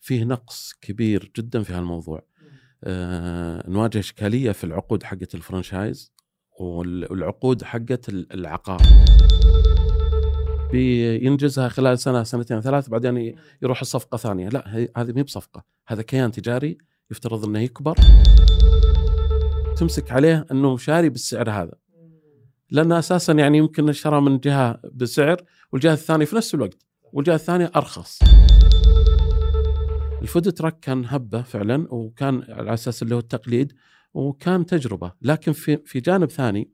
فيه نقص كبير جدا في هالموضوع آه نواجه اشكاليه في العقود حقت الفرنشايز وال- والعقود حقت ال- العقار بينجزها خلال سنه سنتين ثلاث بعدين ي- يروح الصفقه ثانيه لا هي- هذه مي بصفقه هذا كيان تجاري يفترض انه يكبر تمسك عليه انه شاري بالسعر هذا لانه اساسا يعني يمكن شرى من جهه بسعر والجهه الثانيه في نفس الوقت والجهه الثانيه ارخص الفود تراك كان هبه فعلا وكان على اساس اللي هو التقليد وكان تجربه لكن في في جانب ثاني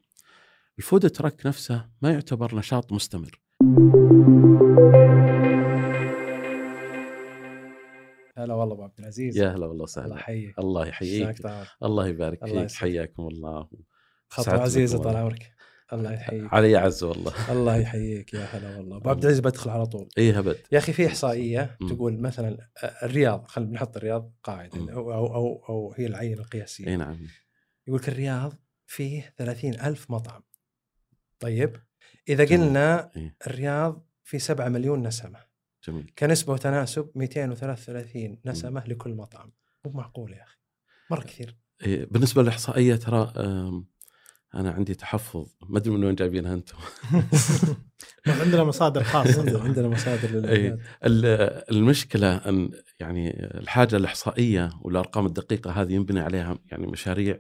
الفود تراك نفسه ما يعتبر نشاط مستمر هلا والله ابو عبد العزيز يا هلا والله الله وسهلا يحييك الله شلونك يحييك طال الله يبارك الله فيك يسعدك. حياكم الله خطوه سعادتكم عزيزه طال والله. عمرك الله يحييك علي عز والله الله يحييك يا هلا والله ابو عبد العزيز بدخل على طول اي إيه هبد يا اخي في احصائيه مم. تقول مثلا الرياض خلينا نحط الرياض قاعده مم. او او او, أو هي العينه اي القياسيه نعم يقول لك الرياض فيه 30 ألف مطعم طيب اذا جميل. قلنا إيه. الرياض في 7 مليون نسمه جميل كنسبه وتناسب 233 نسمه لكل مطعم مو معقول يا اخي مره كثير إيه بالنسبه للاحصائيه ترى أم، انا عندي تحفظ ما ادري من وين جايبينها انتم عندنا مصادر عندنا- خاصه عندنا مصادر للإعداد. إيه. ال- المشكله ان يعني الحاجه الاحصائيه والارقام الدقيقه هذه ينبني عليها يعني مشاريع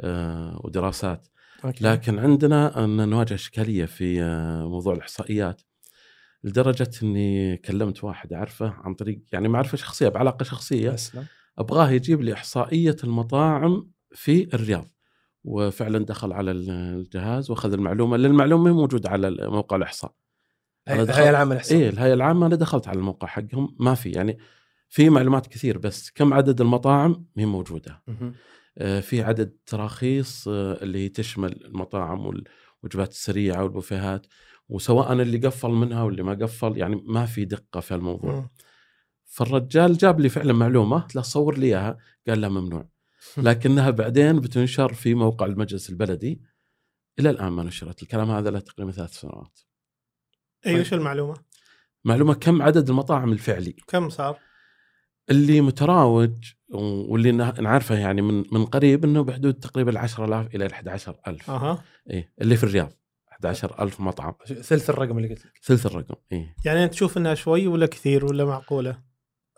آه، ودراسات أوكي. لكن عندنا ان نواجه اشكاليه في آه، موضوع الاحصائيات لدرجه اني كلمت واحد اعرفه عن طريق يعني معرفه شخصيه بعلاقه شخصيه أسلم. ابغاه يجيب لي احصائيه المطاعم في الرياض وفعلا دخل على ال- الجهاز واخذ المعلومه لأن المعلومه ما هي موجوده على موقع الاحصاء أنا دخلت- هاي العام الاحصائي ايه الهيئه العامه انا دخلت على الموقع حقهم ما في يعني في معلومات كثير بس كم عدد المطاعم ما هي موجوده مهم. آه، في عدد تراخيص آه، اللي تشمل المطاعم والوجبات السريعه والبوفيهات وسواء اللي قفل منها واللي ما قفل يعني ما في دقه في الموضوع مم. فالرجال جاب لي فعلا معلومه لا صور لي اياها قال لا ممنوع لكنها بعدين بتنشر في موقع المجلس البلدي الى الان ما نشرت الكلام هذا له تقريبا ثلاث سنوات طيب. اي وش المعلومه؟ معلومه كم عدد المطاعم الفعلي كم صار؟ اللي متراوج واللي نا- نعرفه يعني من من قريب انه بحدود تقريبا 10000 الى 11000 اها ايه اللي في الرياض 11000 مطعم ثلث الرقم اللي قلت لك ثلث الرقم ايه يعني انت تشوف انها شوي ولا كثير ولا معقوله؟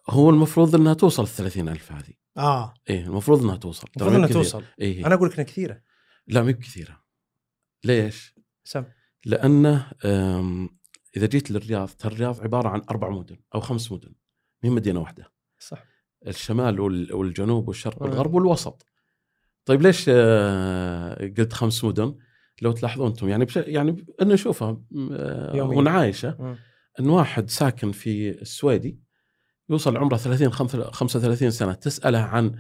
هو المفروض انها توصل 30000 هذه اه ايه المفروض انها توصل ترى المفروض ما هي انها بكثير. توصل ايه انا اقول لك انها كثيره لا ما هي بكثيره ليش؟ سم لانه أم، اذا جيت للرياض ترى الرياض عباره عن اربع مدن او خمس مدن مين مدينه واحده صح الشمال وال- والجنوب والشرق آه. والغرب والوسط طيب ليش آه، قلت خمس مدن لو تلاحظون انتم يعني بش... يعني ب- انا اشوفها م- آه، يومياً. ونعايشه مم. ان واحد ساكن في السويدي يوصل عمره 30 خمسة- 35 سنه تساله عن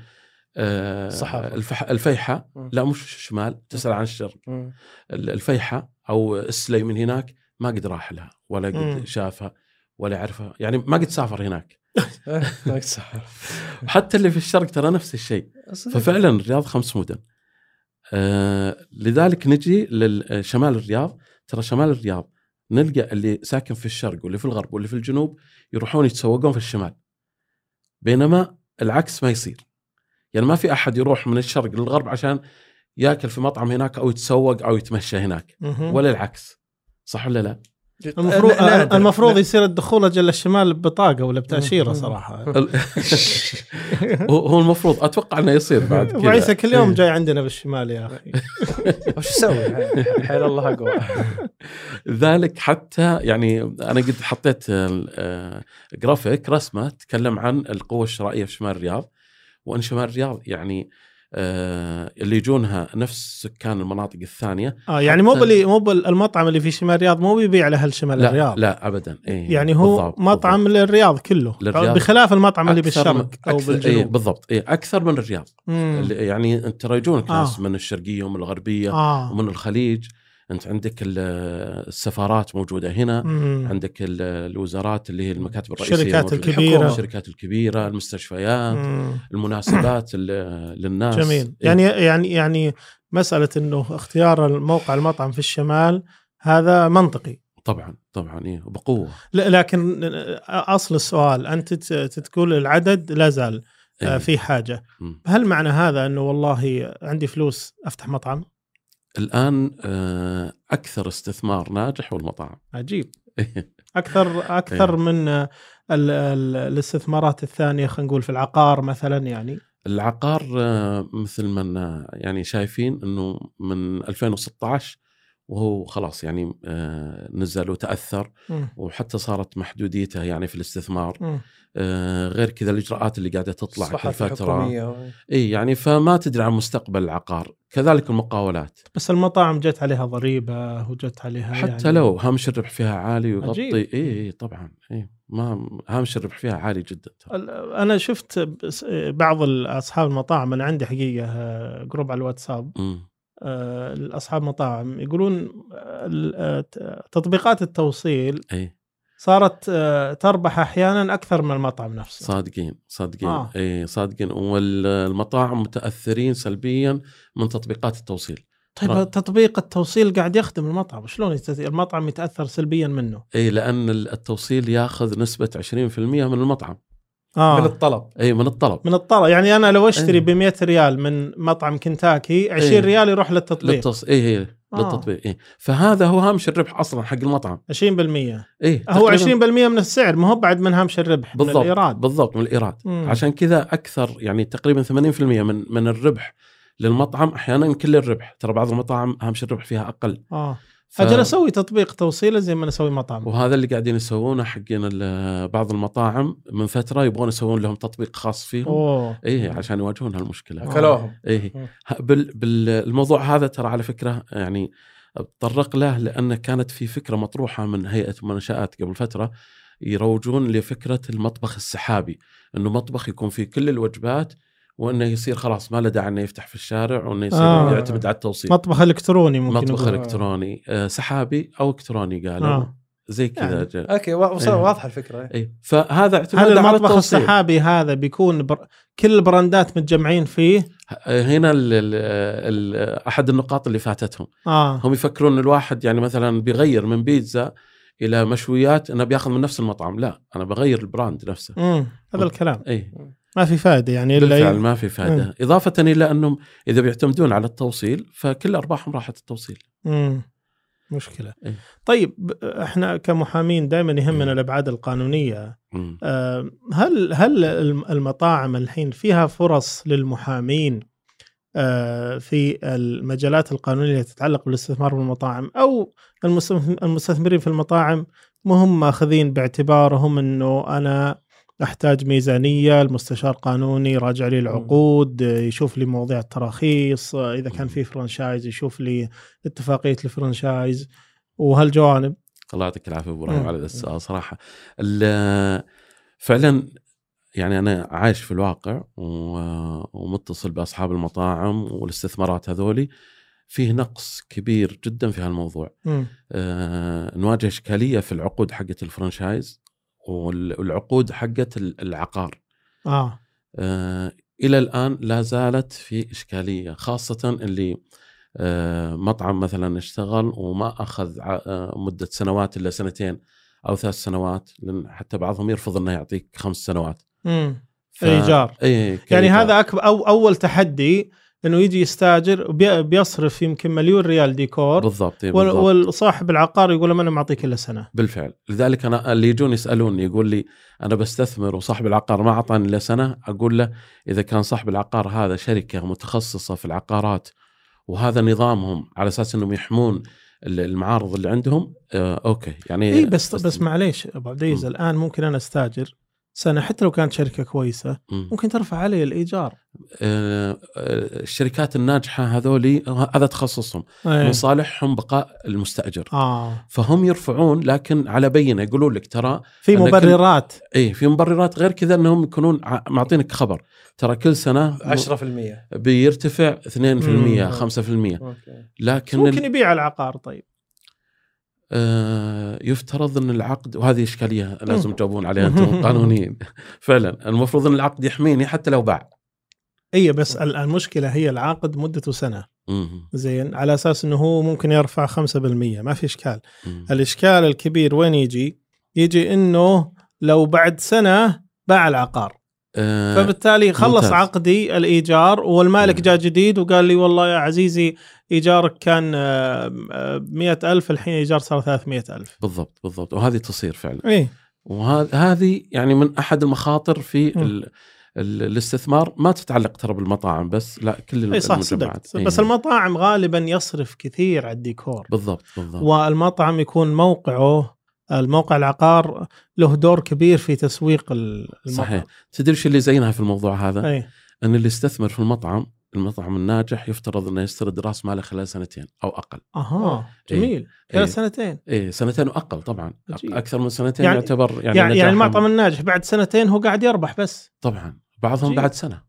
آه، الصحافة. الفح... الفيحة مم. لا مش الشمال تسأل عن الشرق مم. ال- الفيحة أو السلي من هناك ما قد راح لها ولا قد مم. شافها ولا يعرفها يعني ما قد سافر هناك إيه، معك صح حتى اللي في الشرق ترى نفس الشيء صدق. ففعلا الرياض خمس مدن آه لذلك نجي لشمال الرياض ترى شمال الرياض نلقى اللي ساكن في الشرق واللي في الغرب واللي في الجنوب يروحون يتسوقون في الشمال بينما العكس ما يصير يعني ما في احد يروح من الشرق للغرب عشان ياكل في مطعم هناك او يتسوق او يتمشى هناك مهم. ولا العكس صح ولا لا؟ المفروض لا- نادر. المفروض لا. يصير الدخول اجل الشمال ببطاقه ولا بتاشيره مم. صراحه ال- هو هو المفروض اتوقع انه يصير بعد ابو كذا إيه. عيسى كل يوم جاي عندنا بالشمال يا اخي وش اسوي حيل الله اقوى ذلك حتى يعني انا قد حطيت آه، جرافيك رسمه تتكلم عن القوه الشرائيه في شمال الرياض وان شمال الرياض يعني آه، اللي يجونها نفس سكان المناطق الثانيه اه يعني مو حتى- باللي مو بال- المطعم اللي في شمال الرياض مو بيبيع لاهل شمال لا الرياض لا ابدا إيه يعني هو بالضبط، مطعم للرياض كله للرياض. بخلاف المطعم اللي أكثر من- بالشرق او أكثر- إيه بالجنوب بالضبط إيه اكثر من الرياض مم. اللي- يعني انت ترى يجونك آه. ناس من الشرقيه ومن الغربيه اه ومن الخليج انت عندك ال- آه، السفارات موجوده هنا مم. عندك ال- الوزارات اللي هي المكاتب الرئيسيه نعم. الشركات الموجودة. الكبيرة. نعم. الشركات الكبيره المستشفيات مم. المناسبات ال- للناس جميل إيه. يعني يعني يعني مساله انه اختيار الموقع المطعم في الشمال هذا منطقي طبعا طبعا إيه بقوه لا لكن اصل السؤال انت ت- تقول العدد لا زال إيه. آه، في حاجه مم. هل معنى هذا انه والله عندي فلوس افتح مطعم الان آه، اكثر استثمار ناجح هو المطاعم إيه، عجيب اكثر اكثر من آه، ال- ال- الاستثمارات الثانيه خلينا نقول في العقار مثلا يعني العقار آه، مثل ما إن- يعني شايفين انه من 2016 وهو خلاص يعني آه، نزل وتاثر مم. وحتى صارت محدوديته يعني في الاستثمار مم. آه، غير كذا الاجراءات اللي قاعده تطلع كل الصحف فتره الحكوميه آه. اي يعني فما تدري عن مستقبل العقار كذلك المقاولات بس المطاعم جت عليها ضريبه وجت عليها حتى يعني لو هامش الربح فيها عالي ويغطي عجيب. اي إيه طبعا اي ما هامش الربح فيها عالي جدا ترى. ال- انا شفت بس- آه، بعض ال- اصحاب المطاعم انا عندي حقيقه آه، جروب على الواتساب أمم. آه، لاصحاب مطاعم يقولون آه، ال- آه، ت- تطبيقات التوصيل اي صارت آه، تربح احيانا اكثر من المطعم نفسه صادقين صادقين آه. آه. اي صادقين والمطاعم متاثرين سلبيا من تطبيقات التوصيل طيب تطبيق التوصيل قاعد يخدم المطعم شلون يت- المطعم يتاثر سلبيا منه اي لان التوصيل ياخذ نسبه 20% من المطعم من اه الطلب اي من الطلب من الطلب يعني انا لو اشتري إيه. ب 100 ريال من مطعم كنتاكي 20 إيه. ريال يروح للتطبيق للتص... اي اي آه. للتطبيق اي فهذا هو هامش الربح اصلا حق المطعم 20% اي هو تقريباً 20% من السعر ما هو بعد من هامش الربح بالضبط من الايراد بالضبط من الايراد مم. عشان كذا اكثر يعني تقريبا 80% من من الربح للمطعم احيانا كل الربح ترى بعض المطاعم هامش الربح فيها اقل اه ف... اجل اسوي تطبيق توصيله زي ما انا اسوي مطعم وهذا اللي قاعدين يسوونه حقين ال- بعض المطاعم من فتره يبغون يسوون لهم تطبيق خاص فيهم اوه ايه عشان يواجهون هالمشكله اكلوهم ايه مم. ه- بال... بال... الموضوع هذا ترى على فكره يعني اتطرق له لانه كانت في فكره مطروحه من هيئه المنشات قبل فتره يروجون لفكره المطبخ السحابي انه مطبخ يكون فيه كل الوجبات وانه يصير خلاص ما له داعي انه يفتح في الشارع وانه يصير آه. يعتمد على التوصيل مطبخ الكتروني ممكن إيه. مطبخ نقول. نقول. الكتروني آه، سحابي او الكتروني قالوا آه. زي كذا يعني. جا- اوكي وا- وص- إيه. واضحه الفكره اي فهذا هل اعتماد على المطبخ التوصيل السحابي هذا بيكون بر... كل البراندات متجمعين فيه؟ ه- هنا ال ال ال احد النقاط اللي فاتتهم اه هم يفكرون ان الواحد يعني مثلا بيغير من بيتزا الى مشويات انه بياخذ من نفس المطعم لا انا بغير البراند نفسه امم هذا الكلام اي ما في فائده يعني بالفعل الا ما في فائده اضافه الى انهم اذا بيعتمدون على التوصيل فكل ارباحهم راحت التوصيل امم مشكله إيه. طيب ب- احنا كمحامين دائما يهمنا مم. الابعاد القانونيه مم. آه، هل هل الم- المطاعم الحين فيها فرص للمحامين آه، في المجالات القانونيه اللي تتعلق بالاستثمار بالمطاعم او المستثم- المستثمرين في المطاعم ما هم ماخذين باعتبارهم انه انا احتاج ميزانيه المستشار قانوني يراجع لي العقود آه، يشوف لي مواضيع التراخيص آه، اذا كان في فرنشايز يشوف لي اتفاقيه الفرنشايز وهالجوانب الله يعطيك العافيه ابو ابراهيم مم. على هذا السؤال صراحه ال- فعلا يعني انا عايش في الواقع و- ومتصل باصحاب المطاعم والاستثمارات هذولي فيه نقص كبير جدا في هالموضوع مم. آه، نواجه اشكاليه في العقود حقت الفرنشايز وال- والعقود حقت ال- العقار اه آه، الى الان لا زالت في اشكاليه خاصه اللي آه، مطعم مثلا اشتغل وما اخذ ع- آه، مده سنوات الا سنتين او ثلاث سنوات لان حتى بعضهم يرفض انه يعطيك خمس سنوات مم. ف... إيجار. إيه يعني كإيجار. هذا اكبر أو اول تحدي انه يجي يستاجر وبي- بيصرف يمكن مليون ريال ديكور بالضبط, إيه وال- بالضبط. والصاحب العقار يقول لهم انا معطيك الا سنه بالفعل لذلك انا اللي يجون يسالوني يقول لي انا بستثمر وصاحب العقار ما اعطاني الا سنه اقول له اذا كان صاحب العقار هذا شركه متخصصه في العقارات وهذا نظامهم على اساس انهم يحمون ال- المعارض اللي عندهم آه اوكي يعني اي إيه، بس استثمر. بس معليش ابو عبد العزيز مم. الان ممكن انا استاجر سنه حتى لو كانت شركه كويسه مم. ممكن ترفع علي الايجار آه، آه، الشركات الناجحه هذولي آه، هذا تخصصهم أيه. من صالحهم بقاء المستاجر اه فهم يرفعون لكن على بينه يقولون لك ترى في لكن- مبررات ايه في مبررات غير كذا انهم يكونون ع- معطينك خبر ترى كل سنه 10% بيرتفع 2% مم. 5% اوكي بس لكن ممكن ممكن... يبيع العقار طيب آه يفترض ان العقد وهذه اشكاليه لازم مم. تجاوبون عليها انتم القانونيين فعلا المفروض ان العقد يحميني حتى لو باع اي إيه، بس ال- المشكله هي العقد مدته سنه مم. زين على اساس انه هو ممكن يرفع 5% ما في اشكال مم. الاشكال الكبير وين يجي يجي انه لو بعد سنه باع العقار آه فبالتالي خلص ممتاز. عقدي الايجار والمالك مم. جاء جديد وقال لي والله يا عزيزي ايجارك كان آه، مئة ألف الحين ايجار صار 300 ألف إيه، بالضبط بالضبط وهذه تصير فعلا اي وهذه يعني من احد المخاطر في مم. ال... ال- الاستثمار ما تتعلق ترى بالمطاعم بس لا كل اي صح المجمعات. صدقت إيه. بس المطاعم غالبا يصرف كثير على الديكور بالضبط بالضبط والمطعم يكون موقعه الموقع العقار له دور كبير في تسويق ال- المطعم إيه. صحيح تدري ايش اللي زينها في الموضوع هذا؟ اي ان اللي يستثمر في المطعم المطعم الناجح يفترض انه يسترد راس ماله خلال سنتين او اقل اها جميل خلال إيه. سنتين إيه سنتين واقل طبعا أق- عجيب. اكثر من سنتين يعني- يعني يعتبر يعني يعني, يعني نجاحهم- المطعم الناجح بعد سنتين هو قاعد يربح بس طبعا بعضهم عجيب. بعد سنه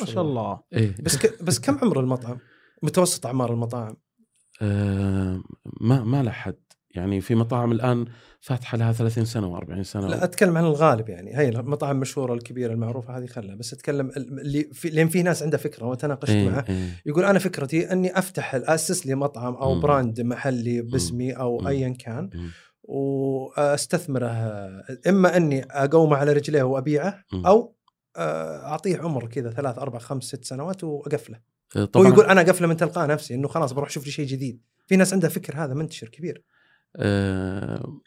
ما شاء الله إيه بس ك... بس كم عمر المطعم؟ متوسط اعمار المطاعم آه ما ما له حد يعني في مطاعم الان فاتحه لها 30 سنه و40 سنه لا اتكلم عن الغالب يعني هي المطاعم المشهوره الكبيره المعروفه هذه خلها بس اتكلم ال- اللي في... لان في ناس عندها فكره وتناقشت إيه معه إيه يقول انا فكرتي اني افتح اسس لي مطعم او مم. براند محلي باسمي مم. او ايا كان مم. واستثمره اما اني اقومه على رجليه وابيعه مم. او آه، اعطيه عمر كذا ثلاث اربع خمس ست سنوات واقفله آه، هو طبعا يقول انا اقفله من تلقاء نفسي انه خلاص بروح اشوف لي شيء جديد في ناس عندها فكر هذا منتشر كبير آه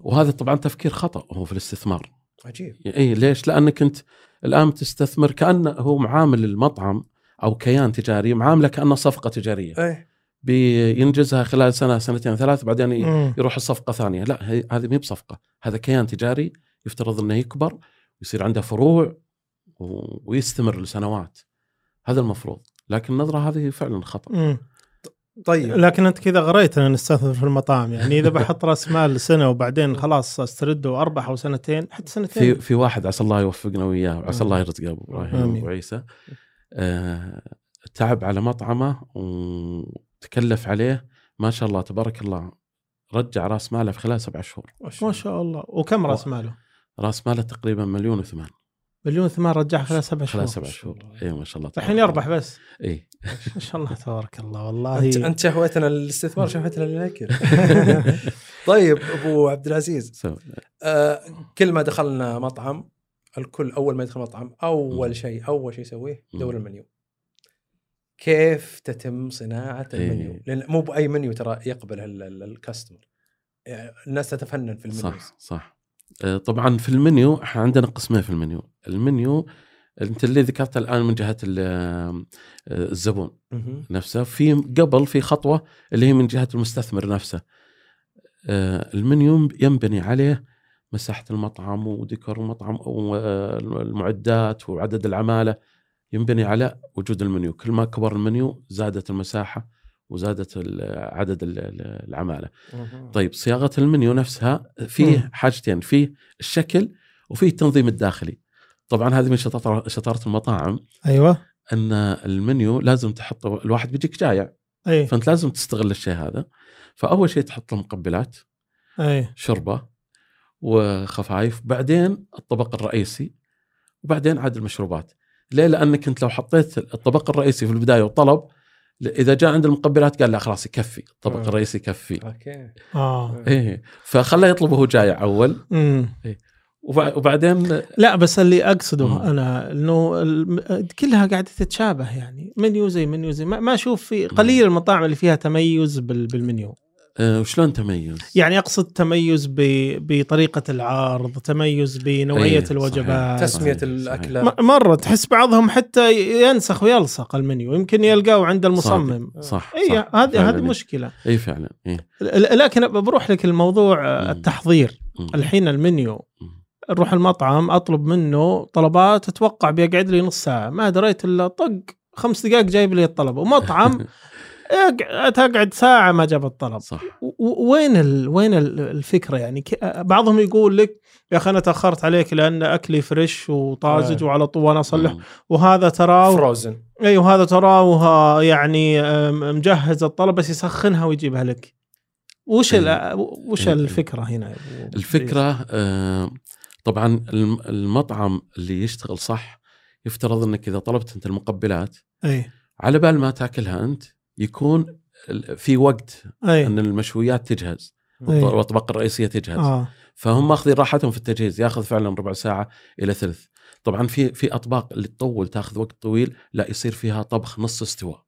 وهذا طبعا تفكير خطا هو في الاستثمار عجيب اي إيه، ليش؟ لانك انت الان تستثمر كانه هو معامل المطعم او كيان تجاري معامله كانه صفقه تجاريه ايه بينجزها خلال سنه سنتين ثلاث بعدين ي- مم. يروح الصفقه ثانيه لا هي- هذه مي بصفقه هذا كيان تجاري يفترض انه يكبر ويصير عنده فروع و- ويستمر لسنوات هذا المفروض لكن النظره هذه فعلا خطا مم. إيه. طيب لكن انت كذا غريت انا نستثمر في المطاعم يعني اذا بحط راس مال سنه وبعدين خلاص استرده واربح او سنتين حتى في سنتين في واحد عسى الله يوفقنا وياه وعسى الله يرزقه ابو ابراهيم نعم. آمين. ابو عيسى آه، تعب على مطعمه وتكلف عليه ما شاء الله تبارك الله رجع راس ماله في خلال سبع شهور ما شاء الله وكم راس ماله؟ راس ماله تقريبا مليون وثمان مليون ثمان رجعها خلال سبع شهور خلال سبع شهور اي ما شاء الله إيه. الحين يربح بس اي ما شاء الله تبارك الله والله انت انت شهوتنا للاستثمار شهوتنا للاكل طيب ابو عبد العزيز آه كل ما دخلنا مطعم الكل اول ما يدخل مطعم مم. اول شيء اول شيء يسويه مم. دور المنيو كيف تتم صناعه إيه. المنيو لان مو باي منيو ترى يقبل ال- ال- الكاستمر يعني الناس تتفنن في المنيو صح صح آه، طبعا في المنيو احنا عندنا قسمين في المنيو المنيو انت اللي ذكرته الان من جهه ال- آه، الزبون مهم. نفسه في قبل في خطوه اللي هي من جهه المستثمر نفسه آه، المنيو ينبني عليه مساحه المطعم وديكور المطعم والمعدات وعدد العماله ينبني على وجود المنيو كل ما كبر المنيو زادت المساحه وزادت ال- عدد ال- ال- العماله مهم. طيب صياغه المنيو نفسها فيه مم. حاجتين فيه الشكل وفيه التنظيم الداخلي طبعا هذه من شطاره شطاره المطاعم ايوه ان المنيو لازم تحطه الواحد بيجيك جايع اي فانت لازم تستغل الشيء هذا فاول شيء تحط له مقبلات اي شوربه وخفايف بعدين الطبق الرئيسي وبعدين عاد المشروبات ليه لانك انت لو حطيت الطبق الرئيسي في البدايه وطلب اذا جاء عند المقبلات قال لا خلاص يكفي الطبق آه. الرئيسي يكفي اوكي اه ايه فخلاه يطلب وهو جايع اول امم وبع- وبعدين لا بس اللي اقصده مم. انا انه الم- كلها قاعده تتشابه يعني منيو زي منيو زي ما, ما اشوف في قليل المطاعم اللي فيها تميز بال- بالمنيو آه، وشلون تميز؟ يعني اقصد تميز ب... بطريقه العرض تميز بنوعيه إيه، الوجبات صحيح. تسميه صحيح. الاكله م- مره تحس بعضهم حتى ينسخ ويلصق المنيو يمكن يلقاه عند المصمم صح اي صح، إيه، هذه فعلاً. هذه مشكله اي فعلا إيه. ل- لكن بروح لك الموضوع مم. التحضير مم. الحين المنيو مم. اروح المطعم اطلب منه طلبات اتوقع بيقعد لي نص ساعه ما دريت الا طق خمس دقائق جايب لي الطلب ومطعم يقعد- تقعد ساعه ما جاب الطلب صح و- وين ال... وين ال- الفكره يعني ك... بعضهم يقول لك يا اخي انا تاخرت عليك لان اكلي فريش وطازج آه. وعلى طول انا اصلح وهذا تراه فروزن اي وهذا تراه يعني آم، مجهز الطلب بس يسخنها ويجيبها لك وش ال... وش إيه. الفكره هنا يا أبو الفكره آه، طبعا الم- المطعم اللي يشتغل صح يفترض انك اذا طلبت انت المقبلات اي على بال ما تاكلها انت يكون ال- في وقت اي ان المشويات تجهز إيه. والاطباق الرئيسيه تجهز اه فهم ماخذين راحتهم في التجهيز ياخذ فعلا ربع ساعه الى ثلث طبعا في في اطباق اللي تطول تاخذ وقت طويل لا يصير فيها طبخ نص استواء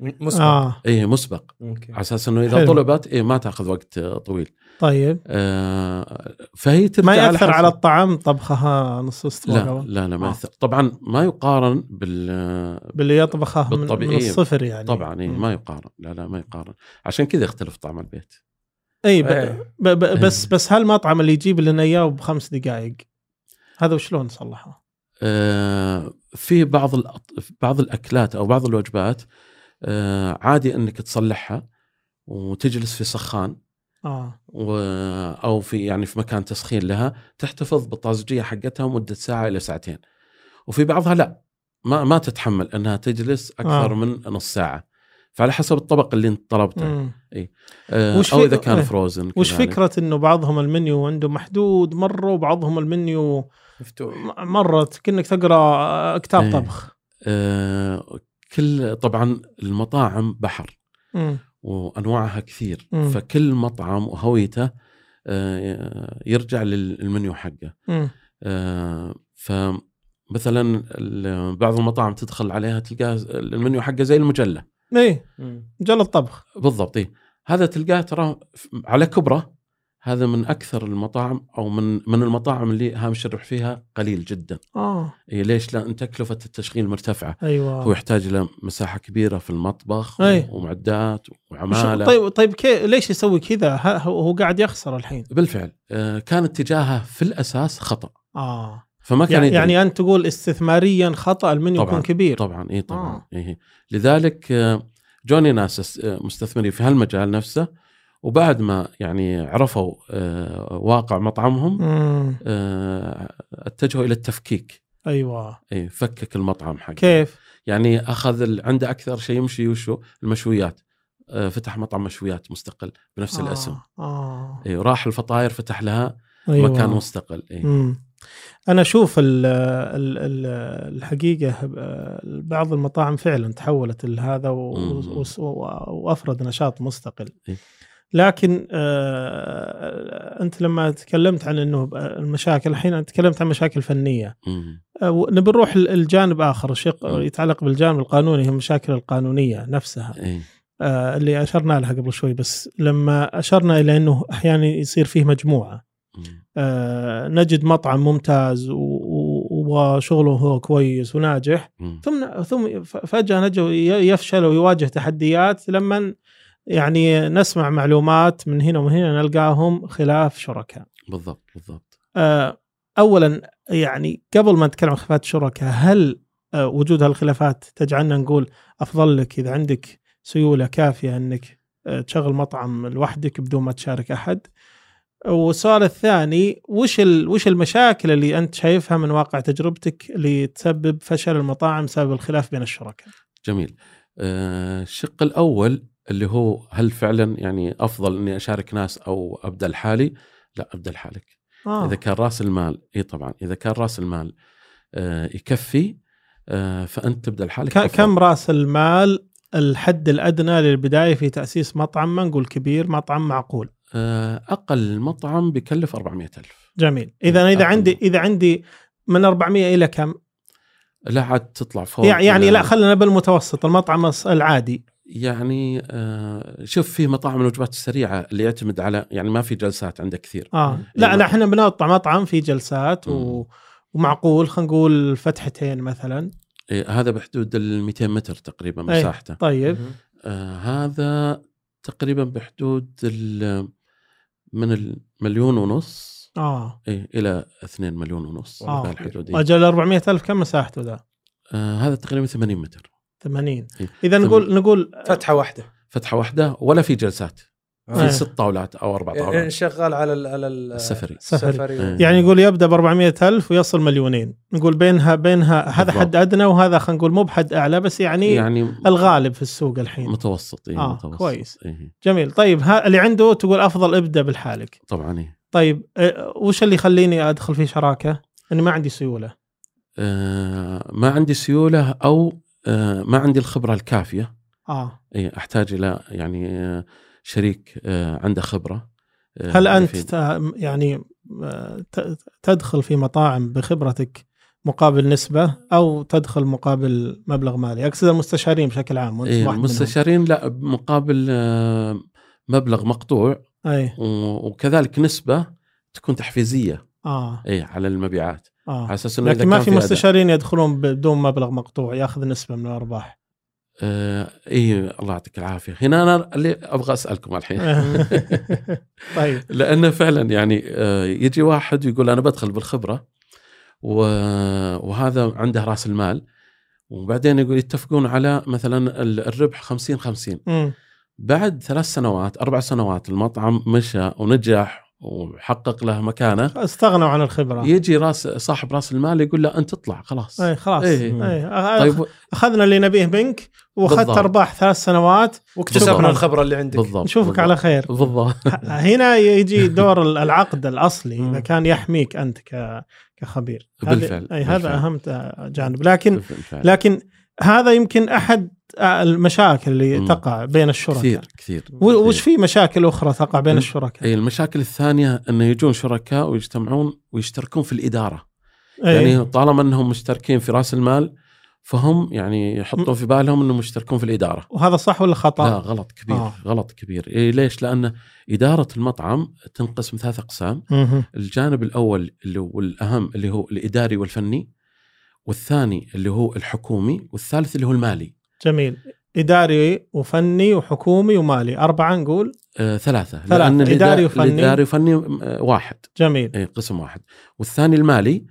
مسبق اه اي مسبق ممكن. على اساس انه اذا حلو. طلبت إيه ما تاخذ وقت آه، طويل طيب آه، فهي ترجع ما ياثر على حسب- الطعام طبخها نص استوى لا قبل؟ لا لا ما آه. ياثر طبعا ما يقارن بال باللي يطبخه من, من بالطبيعي. الصفر يعني طبعا إيه مم. ما يقارن لا لا ما يقارن عشان كذا يختلف طعم البيت اي ب... إيه. ب... ب... بس بس هالمطعم اللي يجيب لنا اياه بخمس دقائق هذا وشلون نصلحه؟ آه، في بعض الأط- بعض الاكلات او بعض الوجبات آه، عادي انك تصلحها وتجلس في سخان اه و... او في يعني في مكان تسخين لها تحتفظ بالطازجيه حقتها مده ساعه الى ساعتين. وفي بعضها لا ما ما تتحمل انها تجلس اكثر آه. آه. من نص ساعه. فعلى حسب الطبق اللي انت طلبته مم. آه وش او في- اذا كان إيه. فروزن وش كذلك. فكره انه بعضهم المنيو عنده محدود مره وبعضهم المنيو مفتوح م- مره كانك تقرا كتاب إيه. طبخ آه كل طبعا المطاعم بحر مم. وانواعها كثير مم. فكل مطعم وهويته آه يرجع لل- للمنيو حقه. مم. آه، فمثلا ال- بعض المطاعم تدخل عليها تلقاه المنيو حقه زي المجله اي مم. مجال إيه. الطبخ بالضبط إيه. هذا تلقاه ترى ف- على كبره هذا من اكثر المطاعم او من من المطاعم اللي هامش الربح فيها قليل جدا اه إيه ليش لان تكلفه التشغيل مرتفعه ايوه هو يحتاج الى مساحه كبيره في المطبخ أي. ومعدات وش- وعماله طيب طيب كي ليش يسوي كذا؟ ها- هو هو قاعد يخسر الحين بالفعل آه، كان اتجاهه في الاساس خطا اه فما آه. كان يعني, يدري. يعني انت تقول استثماريا خطا المنيو طبعاً، يكون كبير طبعا اي طبعا آه. آه. إيه. لذلك آه، جوني ناس آه، مستثمرين في هالمجال نفسه وبعد ما يعني عرفوا آه، واقع مطعمهم مم. آه، اتجهوا الى التفكيك ايوه اي فكك المطعم حقه كيف؟ يعني اخذ ال- عنده اكثر شيء يمشي وشو المشويات آه، فتح مطعم مشويات مستقل بنفس آه. الاسم آه. آه. اي إيه، راح الفطاير فتح لها أيوة. أيوة. مكان مستقل اي مم. انا اشوف ال ال ال الحقيقه آه، بعض المطاعم فعلا تحولت لهذا و- مم. و- و- وافرد نشاط مستقل إيه. لكن آه انت لما تكلمت عن انه المشاكل الحين أنت تكلمت عن مشاكل فنيه مم. أو آه، نبي نروح الجانب اخر شق مم. يتعلق بالجانب القانوني هي المشاكل القانونيه نفسها اي آه، اللي اشرنا لها قبل شوي بس لما اشرنا الى انه احيانا يصير فيه مجموعه مم. آه، نجد مطعم ممتاز و- و- وشغله هو كويس وناجح مم. ثم ثم ف- فجاه نجوا ي- يفشل ويواجه تحديات لما يعني نسمع معلومات من هنا ومن هنا نلقاهم خلاف شركاء بالضبط بالضبط آه، اولا يعني قبل ما نتكلم عن خلافات الشركاء هل آه، وجود هالخلافات تجعلنا نقول افضل لك اذا عندك سيوله كافيه انك آه، تشغل مطعم لوحدك بدون ما تشارك احد والسؤال الثاني وش ال- وش المشاكل اللي انت شايفها من واقع تجربتك اللي تسبب فشل المطاعم بسبب الخلاف بين الشركاء؟ جميل آه، الشق الاول اللي هو هل فعلا يعني افضل اني اشارك ناس او ابدا لحالي؟ لا ابدا لحالك آه. اذا كان راس المال اي طبعا اذا كان راس المال آه، يكفي آه، فانت تبدا لحالك ك- أفضل. كم راس المال الحد الادنى للبدايه في تاسيس مطعم ما نقول كبير مطعم معقول آه، اقل مطعم بيكلف 400 الف جميل اذا أقل. اذا عندي اذا عندي من 400 الى كم لا عاد تطلع فوق يع- يعني إلى- لا خلينا بالمتوسط المطعم الص- العادي يعني آه، شوف في مطاعم الوجبات السريعه اللي يعتمد على يعني ما في جلسات عنده كثير اه لا إيه. لا احنا بنقطع مطعم في جلسات و... مم. ومعقول خلينا نقول فتحتين مثلا إيه، هذا بحدود ال 200 متر تقريبا إيه. مساحته طيب آه هذا تقريبا بحدود ال- من المليون ونص اه إيه الى 2 مليون ونص آه. الحدود إيه. اجل 400 الف كم مساحته ذا؟ آه هذا تقريبا 80 متر 80 إيه. اذا ثم- إيه. نقول نقول فتحه واحده فتحه واحده ولا في جلسات آه. في ست طاولات او اربع يعني طاولات شغال على ال على ال- السفري سفري. السفري إيه. يعني نقول يبدا ب 400 الف ويصل مليونين نقول بينها بينها هذا بالضبط. حد ادنى وهذا خلينا نقول مو بحد اعلى بس يعني, يعني يعني الغالب في السوق الحين متوسط إيه آه، متوسط كويس. إيه جميل طيب ها اللي عنده تقول افضل ابدا بالحالك طبعا إيه. طيب آه، وش اللي يخليني ادخل في شراكه؟ انا ما عندي سيوله آه ما عندي سيوله او آه ما عندي الخبره الكافيه اه إيه احتاج الى يعني آه، شريك آه عنده خبره آه، هل انت يفيد. ت- يعني آه، ت- تدخل في مطاعم بخبرتك مقابل نسبه او تدخل مقابل مبلغ مالي؟ اقصد المستشارين بشكل عام وانت إيه واحد منهم. المستشارين لا مقابل آه، مبلغ مقطوع اي و- وكذلك نسبه تكون تحفيزيه اه اي على المبيعات على اه اساس انه إذا لكن ما كان في أداء. مستشارين يدخلون بدون مبلغ مقطوع ياخذ نسبه من الارباح آه اي الله يعطيك العافيه هنا انا اللي ابغى اسالكم الحين طيب لانه فعلا يعني آه يجي واحد يقول انا بدخل بالخبره و- وهذا عنده راس المال وبعدين يقول يتفقون على مثلا ال- الربح 50 50 مم. بعد ثلاث سنوات اربع سنوات المطعم مشى ونجح وحقق له مكانه استغنوا عن الخبره يجي راس صاحب راس المال يقول له انت اطلع خلاص اي خلاص إيه. أي. أخ- طيب اخذنا اللي نبيه منك واخذت بالضبط. ارباح ثلاث سنوات واكتسبنا بالضبط. الخبره اللي عندك بالضبط نشوفك بالضبط. على خير بالضبط هنا يجي دور ال- العقد الاصلي اذا مم. كان يحميك انت ك- كخبير هذه- بالفعل، اي هذا بالفعل. اهم ت- جانب لكن بالفعل. لكن هذا يمكن احد المشاكل اللي مم. تقع بين الشركاء كثير كثير و- وش في مشاكل اخرى تقع بين مم. إيه، الشركاء؟ اي المشاكل الثانيه انه يجون شركاء ويجتمعون ويشتركون في الاداره أي. يعني طالما انهم مشتركين في راس المال فهم يعني يحطون في بالهم انهم مشتركون في الاداره وهذا صح ولا خطا؟ لا غلط كبير آه. آه. غلط كبير إيه ليش لان اداره المطعم تنقسم ثلاث اقسام مهم. الجانب الاول اللي هو الاهم اللي هو الاداري والفني والثاني اللي هو الحكومي والثالث اللي هو المالي جميل اداري وفني وحكومي ومالي اربعه نقول آه ثلاثه ثلاثة. الإدا- إداري وفني. الاداري وفني آه، واحد جميل إيه قسم واحد والثاني المالي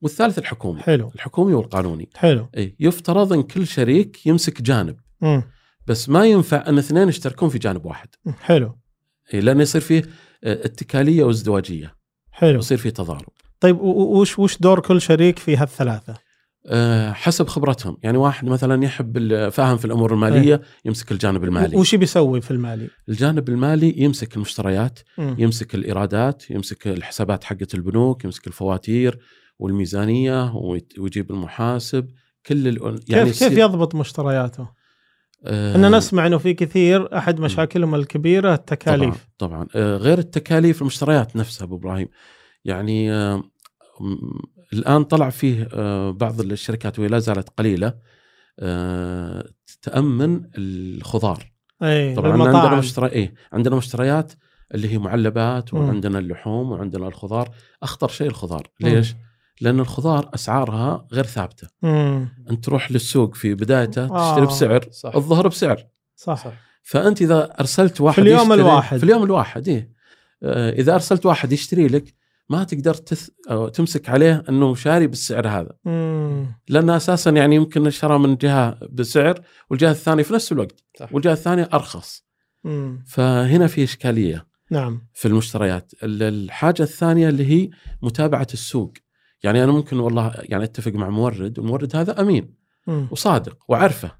والثالث الحكومي حلو الحكومي والقانوني حلو إيه يفترض ان كل شريك يمسك جانب مم. بس ما ينفع ان اثنين يشتركون في جانب واحد حلو إيه لان يصير فيه آه، اتكاليه وازدواجيه نعم. حلو ويصير فيه تضارب طيب و- و- وش وش دور كل شريك في هالثلاثه؟ آه، حسب خبرتهم يعني واحد مثلا يحب ال- فاهم في الامور الماليه يمسك الجانب المالي إيه. وش بيسوي في المالي؟ الجانب المالي يمسك المشتريات مم. يمسك الايرادات يمسك الحسابات حقه البنوك يمسك الفواتير والميزانيه ويت- ويجيب المحاسب كل ال... يعني كيف كيف يصير- يضبط مشترياته؟ آه، احنا نسمع انه في كثير احد مشاكلهم الكبيره التكاليف طبعا, طبعاً. آه، غير التكاليف المشتريات نفسها ابو ابراهيم يعني آه، م- الان طلع فيه آه، بعض الشركات وهي لا زالت قليله آه، تامن الخضار اي طبعا عندنا بالمطاعم مشتري... إيه؟ عندنا مشتريات اللي هي معلبات مم. وعندنا اللحوم وعندنا الخضار اخطر شيء الخضار ليش لان الخضار اسعارها غير ثابته مم. انت تروح للسوق في بدايته آه. تشتري بسعر صح الظهر بسعر صح فانت اذا ارسلت واحد اليوم يشتري الواحد. في اليوم الواحد إيه؟ آه، اذا ارسلت واحد يشتري لك ما تقدر تث... أو تمسك عليه انه شاري بالسعر هذا مم. لان اساسا يعني يمكن شرى من جهه بسعر والجهه الثانيه في نفس الوقت صح. والجهه الثانيه ارخص مم. فهنا في اشكاليه نعم في المشتريات ال- الحاجه الثانيه اللي هي متابعه السوق يعني انا ممكن والله يعني اتفق مع مورد والمورد هذا امين مم. وصادق وعارفه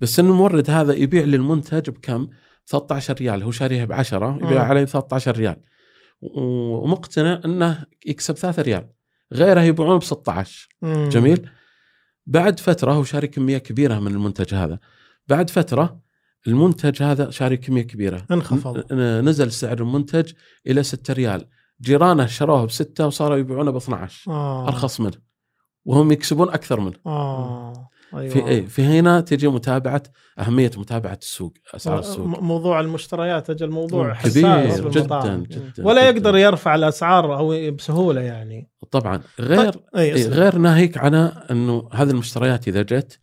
بس ان المورد هذا يبيع لي المنتج بكم 13 ريال هو شاريها ب 10 يبيع مم. عليه ب 13 ريال و- ومقتنع انه يكسب 3 ريال غيره يبيعونه ب 16 مم. جميل بعد فتره هو شاري كميه كبيره من المنتج هذا بعد فتره المنتج هذا شاري كميه كبيره انخفض ن- ن- نزل سعر المنتج الى 6 ريال جيرانه شروه بستة وصاروا يبيعونه ب 12 آه. ارخص منه وهم يكسبون اكثر منه اه ايوه في إيه في هنا تجي متابعه اهميه متابعه السوق اسعار السوق م- موضوع المشتريات اجل موضوع حساس كبير بالمطاعم. يعني. جدا جدا ولا جداً. يقدر يرفع الاسعار او بسهوله يعني طبعا غير اي إيه غير غير ناهيك عن انه هذه المشتريات اذا جت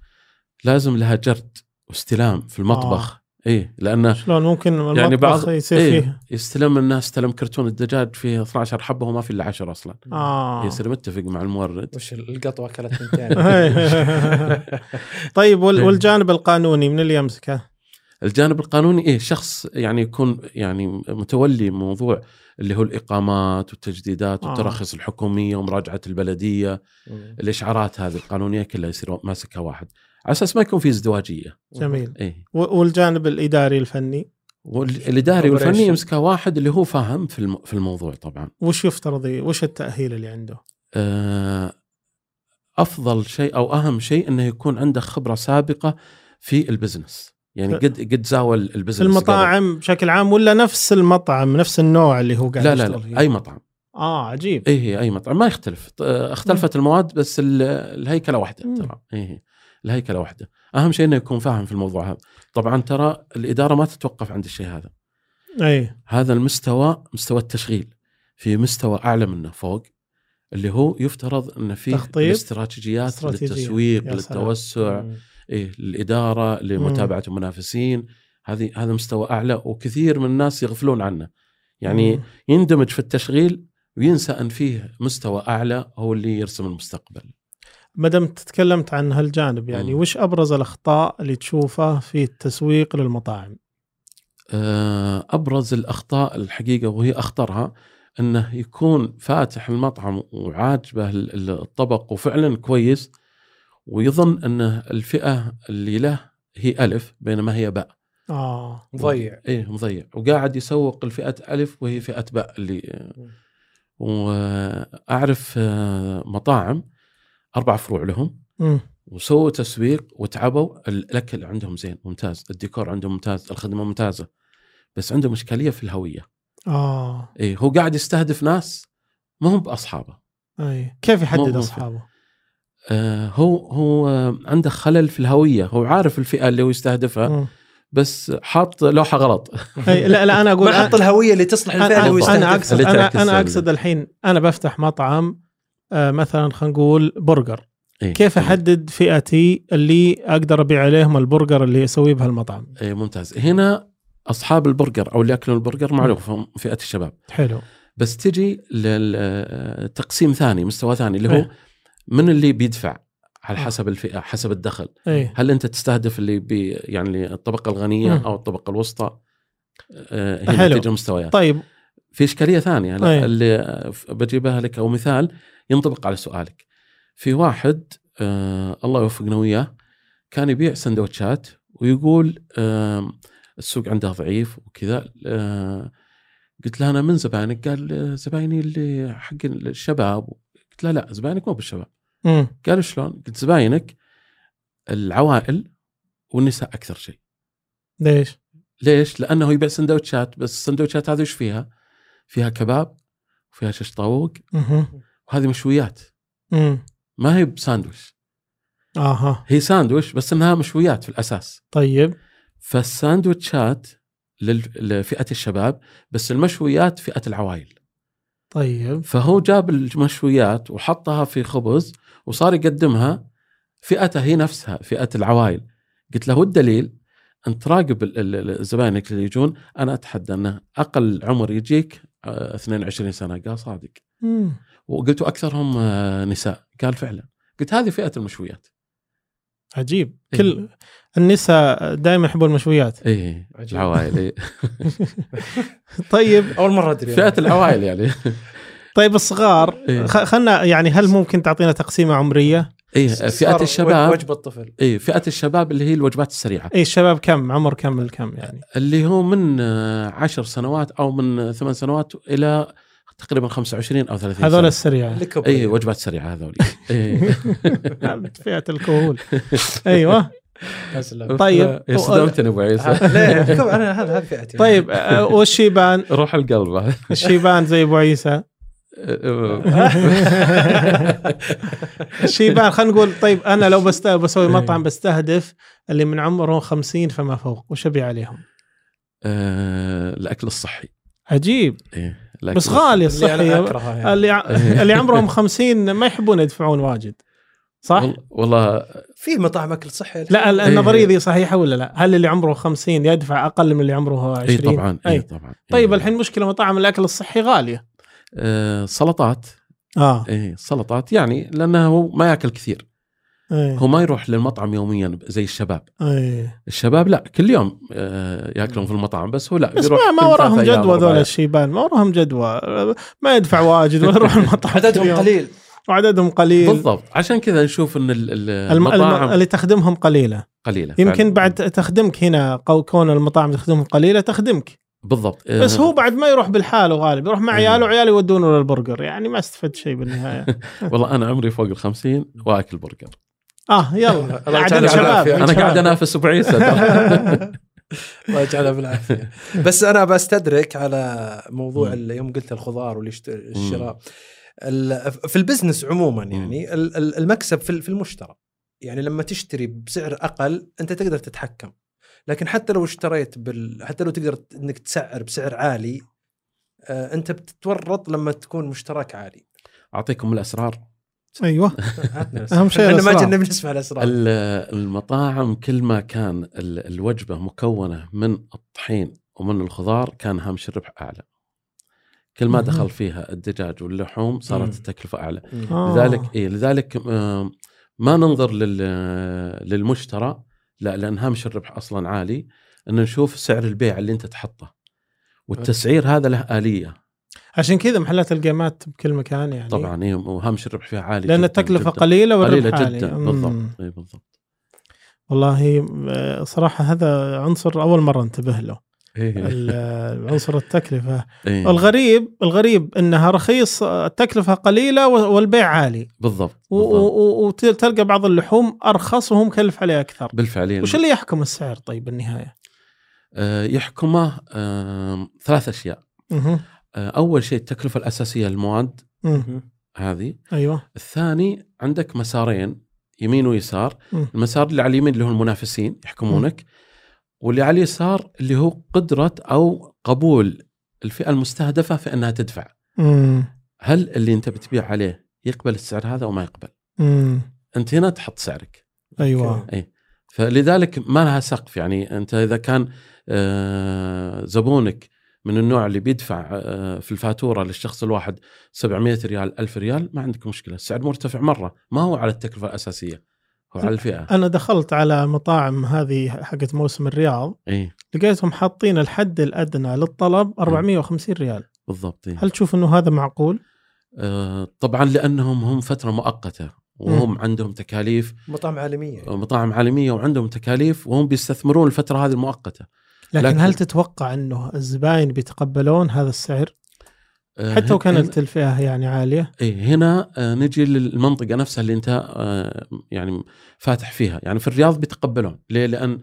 لازم لها جرد واستلام في المطبخ اي لانه آه، شلون ممكن المطبخ يعني يعني بعض- بعض... يصير إيه. فيه يستلم الناس استلم كرتون الدجاج فيه 12 حبه وما في الا 10 اصلا اه إيه، يصير متفق مع المورد وش القطوه اكلت ثنتين طيب إيه. وال- والجانب القانوني من اللي يمسكه؟ الجانب القانوني ايه شخص يعني يكون يعني متولي موضوع اللي هو الاقامات والتجديدات آه. والتراخيص الحكوميه ومراجعه البلديه الاشعارات هذه القانونيه كلها يصير ماسكها واحد على اساس ما يكون في ازدواجيه جميل ايه و- والجانب الاداري الفني والاداري والفني Operation. يمسكها واحد اللي هو فاهم في الم- في الموضوع طبعا وش يفترض ي- وش التاهيل اللي عنده؟ آه، افضل شيء او اهم شيء انه يكون عنده خبره سابقه في البزنس يعني ف- قد قد زاول البزنس المطاعم بشكل عام ولا نفس المطعم نفس النوع اللي هو قبل. قاعد لا لا يشتغل فيه؟ لا اي مطعم اه عجيب ايه اي مطعم ما يختلف ط- آه، اختلفت المواد بس ال- الهيكله واحده مم. ترى ايه الهيكله واحده اهم شيء انه يكون فاهم في الموضوع هذا طبعا ترى الاداره ما تتوقف عند الشيء هذا إيه. اي هذا المستوى مستوى التشغيل في مستوى اعلى منه فوق اللي هو يفترض ان فيه تخطيط، الاستراتيجيات استراتيجية. للتسويق يا سلام. للتوسع إيه للاداره لمتابعه المنافسين هذه هذا مستوى اعلى وكثير من الناس يغفلون عنه يعني مم. يندمج في التشغيل وينسى ان فيه مستوى اعلى هو اللي يرسم المستقبل ما دام تكلمت عن هالجانب يعني مم. وش ابرز الاخطاء اللي تشوفها في التسويق للمطاعم؟ آه، ابرز الاخطاء الحقيقه وهي اخطرها انه يكون فاتح المطعم وعاجبه ال- ال- الطبق وفعلا كويس ويظن انه الفئه اللي له هي الف بينما هي باء اه مضيع ايه مضيع وقاعد يسوق لفئه الف وهي فئه باء اللي واعرف آه، مطاعم اربع فروع لهم مم. وسووا تسويق وتعبوا الاكل عندهم زين ممتاز الديكور عندهم ممتاز الخدمه ممتازه بس عنده مشكليه في الهويه اه إيه هو قاعد يستهدف ناس ما هم باصحابه اي كيف مو- مو يحدد في- اصحابه؟ آه هو هو آه، عنده خلل في الهويه هو عارف الفئه اللي هو يستهدفها مم. بس حاط لوحه غلط اي لا لا انا اقول ما حط الهويه اللي تصلح انا الفعل أنا- انا ويستهدف اقصد اللي انا تعكس انا ال- اقصد الحين انا بفتح مطعم آه، مثلا خلينا نقول برجر إيه كيف احدد فئتي اللي اقدر ابيع عليهم البرجر اللي اسويه بهالمطعم إيه ممتاز هنا اصحاب البرجر او اللي ياكلون البرجر معروف هم فئه الشباب حلو بس تجي لتقسيم ثاني مستوى ثاني اللي هو إيه. من اللي بيدفع على آه. حسب الفئه حسب الدخل اي هل انت تستهدف اللي بي يعني اللي الطبقه الغنيه مم. او الطبقه الوسطى آه، هنا نعم. حلو. تجي المستويات طيب في اشكاليه ثانيه أي. لا، اللي آه، ف- بجيبها لك او مثال ينطبق على سؤالك في واحد آه الله يوفقنا وياه كان يبيع سندوتشات ويقول آه السوق عنده ضعيف وكذا آه قلت له انا من زباينك قال آه، زبايني اللي حق الشباب قلت له لا زباينك مو بالشباب مم. قالوا شلون؟ قلت زباينك العوائل والنساء اكثر شيء. ليش؟ ليش؟ لانه يبيع سندوتشات بس السندوتشات هذه وش فيها؟ فيها كباب وفيها شيش طاووق مهم. وهذه مشويات مم. ما هي بساندويش اها هي ساندويش بس انها مشويات في الاساس طيب فالساندوتشات لل- لفئه الشباب بس المشويات فئه العوائل طيب فهو جاب المشويات وحطها في خبز وصار يقدمها فئته هي نفسها فئه العوائل قلت له والدليل انت تراقب ال- ال- ال- زباينك اللي يجون انا اتحدى انه اقل عمر يجيك آه، 22 سنه قال صادق مم. وقلت اكثرهم آه، نساء قال فعلا قلت هذه فئه المشويات عجيب إيه. كل النساء دائما يحبون المشويات ايه عجيب. العوائل إيه. طيب اول مره ادري فئه العوائل يعني طيب الصغار إيه. خ- خلنا يعني هل ممكن تعطينا تقسيمه عمريه؟ ايه صار فئه الشباب وجبه الطفل ايه فئه الشباب اللي هي الوجبات السريعه اي إيه، الشباب كم عمر كم الكم يعني؟ اللي هو من آه، عشر سنوات او من آه، ثمان سنوات الى تقريبا 25 او 30 هذول سنه السريعه اللي كبر اي وجبات سريعه هذول إيه. فئه الكهول ايوه أسلم. طيب. يا صدمتني ابو عيسى ليه كبر انا هذا هذه فئتي طيب آه، والشيبان روح القلب الشيبان زي ابو عيسى الشيبان خلينا نقول طيب انا لو بست بسوي إيه. مطعم بستهدف اللي من عمره 50 فما فوق وش ابيع عليهم؟ آه، الاكل الصحي عجيب إيه، الأكل بس غالي اللي الصحي إيه. انا اكرهها يعني. اللي ع- اللي عمرهم 50 ما يحبون يدفعون واجد صح؟ والله, والله في مطاعم اكل صحي لا ال- إيه. النظريه ذي صحيحه ولا لا؟ هل اللي عمره 50 يدفع اقل من اللي عمره 20؟ اي طبعا اي أي. طبعا طيب إيه. الحين مشكله مطاعم الاكل الصحي غاليه آه سلطات اه اي سلطات يعني لانه هو ما ياكل كثير اي هو ما يروح للمطعم يوميا زي الشباب اي الشباب لا كل يوم آه ياكلون في المطعم بس هو لا بس يروح ما, ما كل وراهم ثلاث أيام، جدوى أربع ذولا أيام. الشيبان ما وراهم جدوى ما يدفع واجد ولا يروح المطعم كل عددهم يوم. قليل وعددهم قليل بالضبط عشان كذا نشوف ان ال- ال- الم... الم... المطاعم اللي تخدمهم قليله قليله يمكن فعلاً. بعد تخدمك هنا قو- كون المطاعم تخدمهم قليله تخدمك بالضبط آه، بس هو بعد ما يروح بالحاله غالب يروح مع إيه. عياله وعياله يودونه للبرجر يعني ما استفدت شيء بالنهايه والله انا عمري فوق ال 50 واكل برجر اه يلا الله عدد يجعلنا شباب بالعافية. انا قاعد انافس ابو عيسى الله يجعلها بالعافيه بس انا بستدرك على موضوع ال- يوم قلت الخضار والشراء في البزنس عموما مم. يعني ال- ال- المكسب في ال- في المشترى يعني لما تشتري بسعر اقل انت تقدر تتحكم لكن حتى لو اشتريت بال... حتى لو تقدر ت- انك تسعر بسعر عالي آه، انت بتتورط لما تكون مشتراك عالي اعطيكم الاسرار أيوة. ايوه عطنا أهم شيء لأن ما الأسرار. جينا بنسمع طيب. الاسرار ال- المطاعم كل ما كان ال- الوجبه مكونه من الطحين ومن الخضار كان هامش الربح اعلى كل ما مهم. دخل فيها الدجاج واللحوم مم. صارت التكلفه اعلى مم. آه. لذلك إيه لذلك آم، ما ننظر لل للمشترى لا لان هامش الربح اصلا عالي ان نشوف سعر البيع اللي انت تحطه والتسعير هذا له اليه إيه. عشان كذا محلات الجيمات بكل مكان يعني طبعا إيه، وهامش الربح فيها عالي لان جداً- التكلفه جداً. قليله والربح قليله عالي. جدا أمم. بالضبط اي بالضبط والله آه، صراحه هذا عنصر اول مره انتبه له إيه. ال- آه، عنصر التكلفه إيه. الغريب الغريب انها رخيص آه، التكلفه قليله و- والبيع عالي بالضبط و- بالضبط. و- و- وتلقى بعض اللحوم ارخص وهم مكلف عليها اكثر بالفعل وش اللي يحكم السعر طيب بالنهايه؟ آه، يحكمه آم، ثلاث اشياء مه. آه، اول شيء التكلفه الاساسيه للمواد مه. هذه ايوه الثاني عندك مسارين يمين ويسار مم. المسار اللي على اليمين اللي هو المنافسين يحكمونك واللي على اليسار اللي هو قدرة أو قبول الفئة المستهدفة في أنها تدفع مم. هل اللي أنت بتبيع عليه يقبل السعر هذا أو ما يقبل مم. أنت هنا تحط سعرك ايوه فلذلك ما لها سقف يعني أنت إذا كان آه، زبونك من النوع اللي بيدفع آه، في الفاتورة للشخص الواحد 700 ريال 1000 ريال ما عندك مشكلة السعر مرتفع مرة ما هو على التكلفة الأساسية هو على الفئة انا دخلت على مطاعم هذه حقت موسم الرياض اي لقيتهم حاطين الحد الادنى للطلب 450 ريال بالضبط إيه. هل تشوف انه هذا معقول آه، طبعا لانهم هم فتره مؤقته وهم مم. عندهم تكاليف مطاعم عالميه مطاعم عالميه وعندهم تكاليف وهم بيستثمرون الفتره هذه المؤقته لكن, لكن- هل تتوقع انه الزباين بيتقبلون هذا السعر آه، حتى هن- لو كانت هن- الفئه يعني عاليه إيه، هنا آه، نجي للمنطقه نفسها اللي انت آه، يعني فاتح فيها يعني في الرياض بيتقبلون ليه لان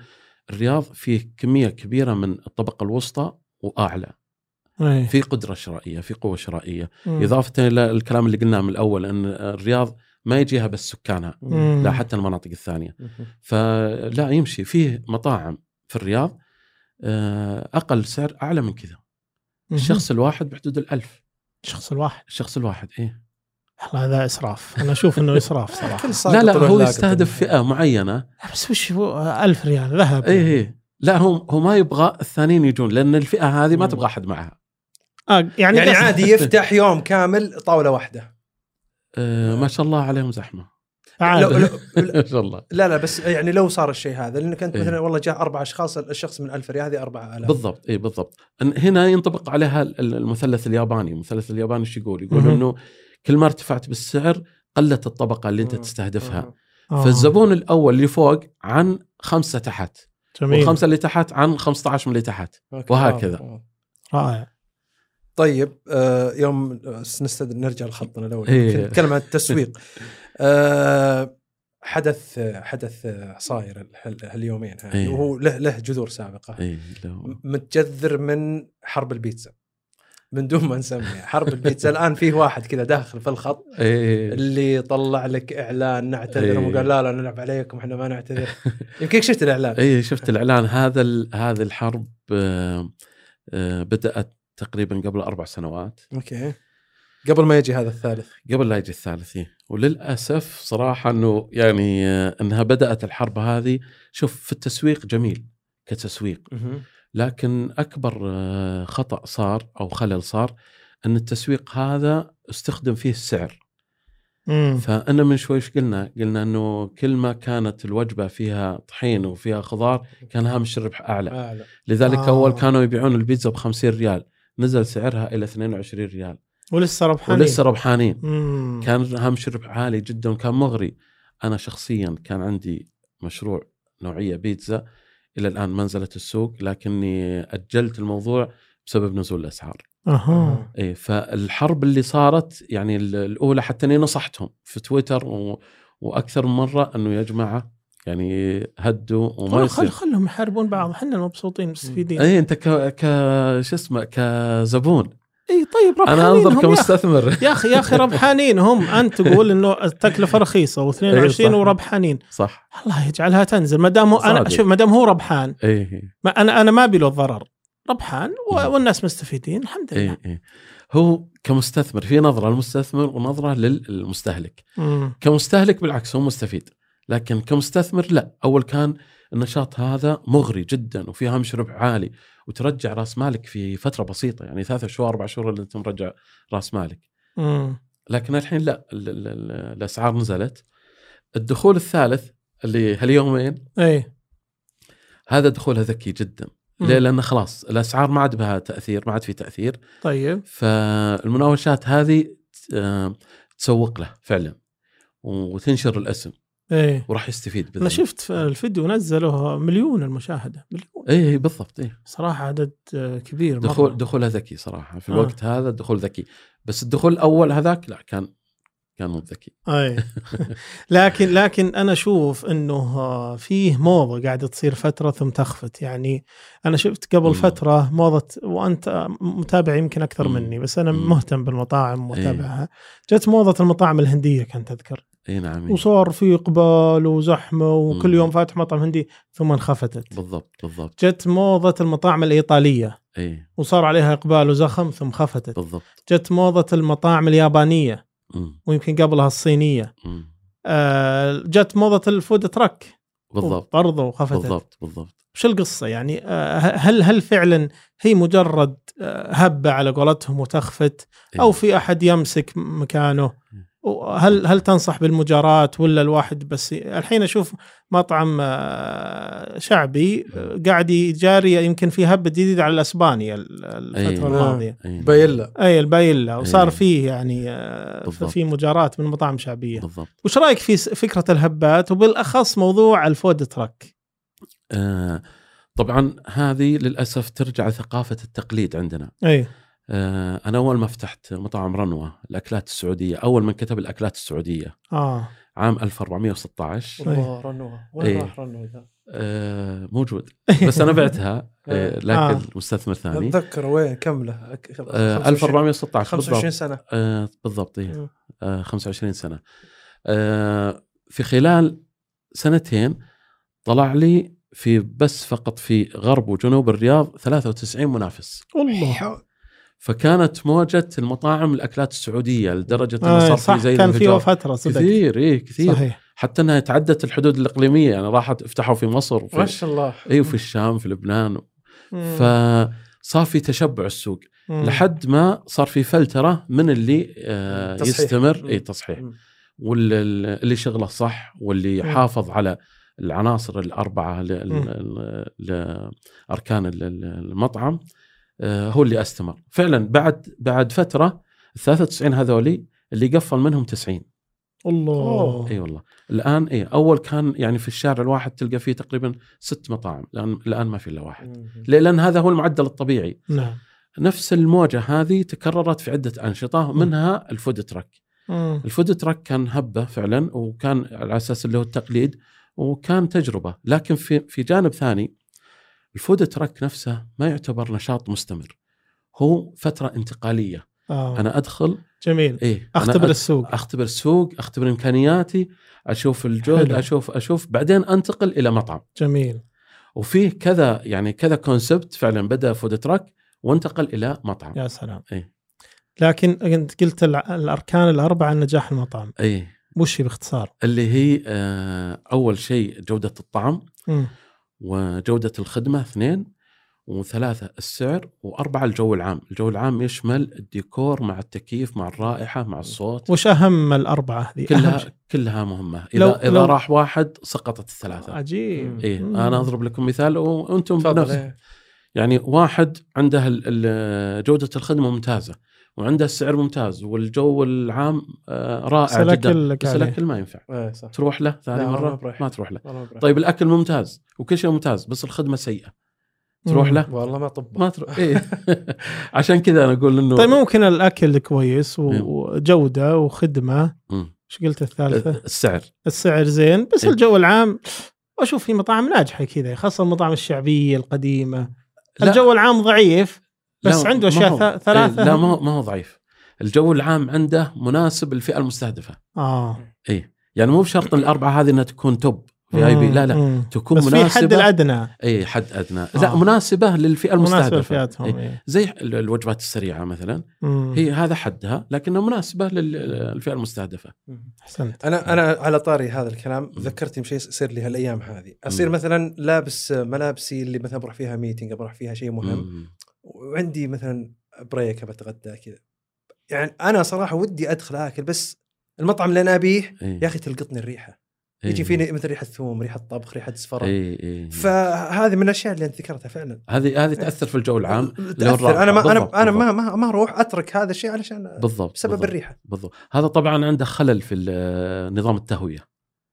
الرياض فيه كميه كبيره من الطبقه الوسطى واعلى أي. في قدره شرائيه في قوه شرائيه إيه. مم. اضافه الى الكلام اللي قلناه من الاول ان الرياض ما يجيها بس سكانها مم. لا حتى المناطق الثانيه فلا يمشي فيه مطاعم في الرياض آه، اقل سعر اعلى من كذا مم. الشخص الواحد بحدود الألف الشخص الواحد الشخص الواحد ايه والله هذا اسراف انا اشوف انه اسراف صراحه كل صاج لا لا يطلع هو لاقط. يستهدف فئه معينه بس وش هو 1000 ريال ذهب ايه يعني. ايه لا هو هو ما يبغى الثانيين يجون لان الفئه هذه ما مم. تبغى احد معها آه يعني, يعني قصد- عادي يفتح يوم كامل طاوله واحده آه ما شاء الله عليهم زحمه عادي. لو لو ما شاء الله لا لا بس يعني لو صار الشيء هذا لانك انت إيه. مثلا والله جاء اربع اشخاص الشخص من 1000 ريال هذه 4000 بالضبط اي بالضبط إن هنا ينطبق عليها ال- ال- المثلث الياباني المثلث الياباني ايش يقول يقول مهم. انه كل ما ارتفعت بالسعر قلت الطبقه اللي انت مم. تستهدفها آه. آه. فالزبون الاول اللي فوق عن خمسه تحت جميل والخمسه اللي تحت عن 15 من اللي تحت أوكي. وهكذا. آه، آه. رائع طيب آه، يوم آه، نستد... نرجع لخطنا الاول إيه. كنا نتكلم عن التسويق آه، حدث حدث صاير ال- هال- هاليومين هذه إيه. وهو له له جذور سابقه اي لو- متجذر من حرب البيتزا من دون ما نسميها حرب البيتزا الان فيه واحد كذا داخل في الخط إيه. اللي طلع لك اعلان نعتذر إيه. وقال لا لا نلعب عليكم احنا ما نعتذر يمكن شفت الاعلان اي شفت الاعلان هذا ال- هذه الحرب آه، آه، بدات تقريبا قبل اربع سنوات اوكي قبل ما يجي هذا الثالث قبل لا يجي الثالث إيه. وللاسف صراحه انه يعني آه، انها بدات الحرب هذه شوف في التسويق جميل كتسويق لكن اكبر آه، خطا صار او خلل صار ان التسويق هذا استخدم فيه السعر مم. فانا من شوي ايش قلنا؟ قلنا انه كل ما كانت الوجبه فيها طحين وفيها خضار كان هامش الربح اعلى اعلى لذلك آه. آه. اول كانوا يبيعون البيتزا ب 50 ريال نزل سعرها الى 22 ريال ولسه ربحانين ولسه ربحانين مم. كان هامش الربح عالي جدا وكان مغري انا شخصيا كان عندي مشروع نوعيه بيتزا الى الان ما نزلت السوق لكني اجلت الموضوع بسبب نزول الاسعار اها اي فالحرب اللي صارت يعني ال- الاولى حتى اني نصحتهم في تويتر و... واكثر من مره انه يا جماعه يعني هدوا وما والله طيب، خل يصير إيه. خلهم يحاربون بعض احنا المبسوطين مستفيدين اي انت ك ك شو اسمه كزبون اي طيب ربحانين انا انظر هم يا أخي. كمستثمر يا اخي يا اخي ربحانين هم انت تقول انه التكلفه رخيصه و22 إي صح. وربحانين صح الله يجعلها تنزل ما دام هو- انا صادق. شوف ما دام هو ربحان اي ما انا انا ما ابي له ضرر ربحان و- والناس مستفيدين الحمد لله اي اي إيه. هو كمستثمر في نظره للمستثمر ونظره للمستهلك مم. كمستهلك بالعكس هو مستفيد لكن كمستثمر لا اول كان النشاط هذا مغري جدا وفيه هامش ربح عالي وترجع راس مالك في فتره بسيطه يعني ثلاثة شهور اربع شهور اللي انت مرجع راس مالك مم. لكن الحين لا ال- ال- ال- الاسعار نزلت الدخول الثالث اللي هاليومين اي هذا دخولها ذكي جدا مم. ليه؟ لان خلاص الاسعار ما عاد بها تاثير ما عاد في تاثير طيب فالمناوشات هذه آه، تسوق له فعلا وتنشر الاسم اي وراح يستفيد باذن انا الله. إيه. شفت في الفيديو نزله مليون المشاهده مليون اي إي إيه، بالضبط اي صراحه عدد آه، كبير مرة. دخول دخولها ذكي صراحه في آه. الوقت هذا الدخول ذكي بس الدخول الاول هذاك لا كان كان مو ذكي اي لكن لكن انا اشوف انه آه، فيه موضه قاعده تصير فتره ثم تخفت يعني انا شفت قبل مم. فتره موضه وانت آه، متابع يمكن اكثر مم. مني بس انا مم. إيه. مهتم بالمطاعم واتابعها جت موضه المطاعم الهنديه كانت اذكر اي نعم إي. وصار في اقبال وزحمه وكل مم. يوم فاتح مطعم هندي ثم انخفتت بالضبط بالضبط جت موضه المطاعم الايطاليه اي وصار عليها اقبال وزخم ثم خفتت بالضبط جت موضه المطاعم اليابانيه أمم، ويمكن قبلها الصينيه أمم. آه، جت موضه الفود تراك بالضبط برضه وخفتت بالضبط بالضبط وش القصه يعني آه، هل هل فعلا هي مجرد آه، هبه على قولتهم وتخفت إي. او في احد يمسك مكانه إيه. هل هل تنصح بالمجاراة ولا الواحد بس الحين اشوف مطعم آه، شعبي إيه. آه، قاعد يجاري يمكن في هبه جديده على الاسبانيا ال- إي. الفتره آه. الماضيه اي نعم. بايلا اي البايلا وصار إي. فيه يعني آه، إيه. بالضبط. في مجاراة من مطاعم شعبيه بالضبط وش رايك في س- فكره الهبات وبالاخص موضوع الفود تراك آه طبعا هذه للاسف ترجع ثقافه التقليد عندنا اي آه انا اول ما فتحت مطعم رنوه الاكلات السعوديه اول من كتب الاكلات السعوديه اه عام 1416 والله رنوه وين إيه. راح رنوه ذا؟ آه موجود بس انا بعتها آه لكن آه. مستثمر ثاني اتذكر وين كم له أك- آه 25 1416 25 بالضبط سنه آه بالضبط إيه. مم. آه 25 سنه آه في خلال سنتين طلع لي في بس فقط في غرب وجنوب الرياض 93 منافس والله فكانت موجه المطاعم الاكلات السعوديه لدرجه انه آه صار في صح زي كان في انفجار. فتره صدق كثير ايه كثير صحيح. صحيح حتى انها تعدت الحدود الاقليميه يعني راحت افتحوا في إيه. مصر ما وفي شاء الله اي وفي الشام في لبنان فصار في تشبع السوق مم. لحد ما صار في فلتره من اللي آه، تصحيح. يستمر اي مم. تصحيح مم. واللي شغله صح واللي مم. يحافظ على العناصر الاربعه ل- ل- مم. ل- لاركان ال- ال- المطعم آه، هو اللي استمر فعلا بعد بعد فتره ال 93 هذولي اللي قفل منهم 90 الله أوه. اي والله الان اي اول كان يعني في الشارع الواحد تلقى فيه تقريبا ست مطاعم الان الان ما في الا واحد مم. ليه؟ لان هذا هو المعدل الطبيعي نعم نفس الموجة هذه تكررت في عدة أنشطة منها الفود تراك مم. الفود تراك كان هبة فعلا وكان على أساس اللي هو التقليد وكان تجربة لكن في, في جانب ثاني الفود تراك نفسه ما يعتبر نشاط مستمر هو فترة انتقالية آه. أنا أدخل جميل إيه أنا اختبر أد- السوق أختبر السوق أختبر إمكانياتي أشوف الجهد حلو. أشوف أشوف بعدين أنتقل إلى مطعم جميل وفيه كذا يعني كذا كونسبت فعلا بدأ فود تراك وانتقل إلى مطعم يا سلام إيه. لكن انت قلت الع- الاركان الاربعه لنجاح المطعم اي وش هي باختصار؟ إيه، اللي هي آه، اول شيء جوده الطعم مم. وجوده الخدمه اثنين وثلاثه السعر واربعه الجو العام، الجو العام يشمل الديكور مع التكييف مع الرائحه مع الصوت وش اهم الاربعه هذه؟ أهم شيء. كلها كلها مهمه اذا لو- لو اذا لو- راح واحد سقطت الثلاثه عجيب ايه مم. انا اضرب لكم مثال وانتم تفضل بنفس إيه. يعني واحد عنده ال- ال- جودة الخدمة ممتازة وعنده السعر ممتاز والجو العام آه، رائع سلك يعني. جدا لك بس عليه. الأكل ما ينفع ايه صح تروح له ثاني لا، والله مرة بريح. ما تروح له والله برا. طيب الأكل ممتاز وكل شيء ممتاز بس الخدمة سيئة تروح مم. له والله ما طب ما تروح إيه. عشان كذا أنا أقول إنه طيب ممكن الاكل كويس و- مم. وجوده وخدمه مم. ايش قلت الثالثه؟ السعر السعر زين بس إيه. الجو العام واشوف في مطاعم ناجحه كذا خاصه المطاعم الشعبيه القديمه لا، الجو العام ضعيف لا، بس عنده ما أشياء هو- ثا- إيه، ثلاثة. لا ما هو- ما هو ضعيف الجو العام عنده مناسب للفئة المستهدفة اه يعني مو بشرط إن الأربعة هذه إنها تكون توب في اي بي لا لا مم. تكون بس في مناسبة حد الادنى اي حد ادنى آه. آه. لا مناسبه للفئه مناسبه المستهدفه لفئاتهم إيه. إيه. زي ال- الوجبات السريعه مثلا مم. هي هذا حدها لكنها مناسبه لل- للفئه المستهدفه احسنت نعم. انا انا على طاري هذا الكلام ذكرتني بشيء يصير لي هالايام هذه اصير مم. مثلا لابس ملابسي اللي مثلا بروح فيها ميتنج بروح فيها شيء مهم مم. وعندي مثلا بريك بتغدى كذا يعني انا صراحه ودي ادخل اكل بس المطعم اللي انا ابيه إيه. يا اخي تلقطني الريحه إيه. يجي فيني مثل ريحه ثوم ريحه طبخ ريحه زفره اي اي فهذه من الاشياء اللي انت ذكرتها فعلا هذه هذه تاثر في الجو العام لو تأثر. الرائحة. انا ما بالضبط، انا انا ما بالضبط. ما ما اروح اترك هذا الشيء علشان بالضبط بسبب بالضبط. الريحه بالضبط هذا طبعا عنده خلل في ال- نظام التهويه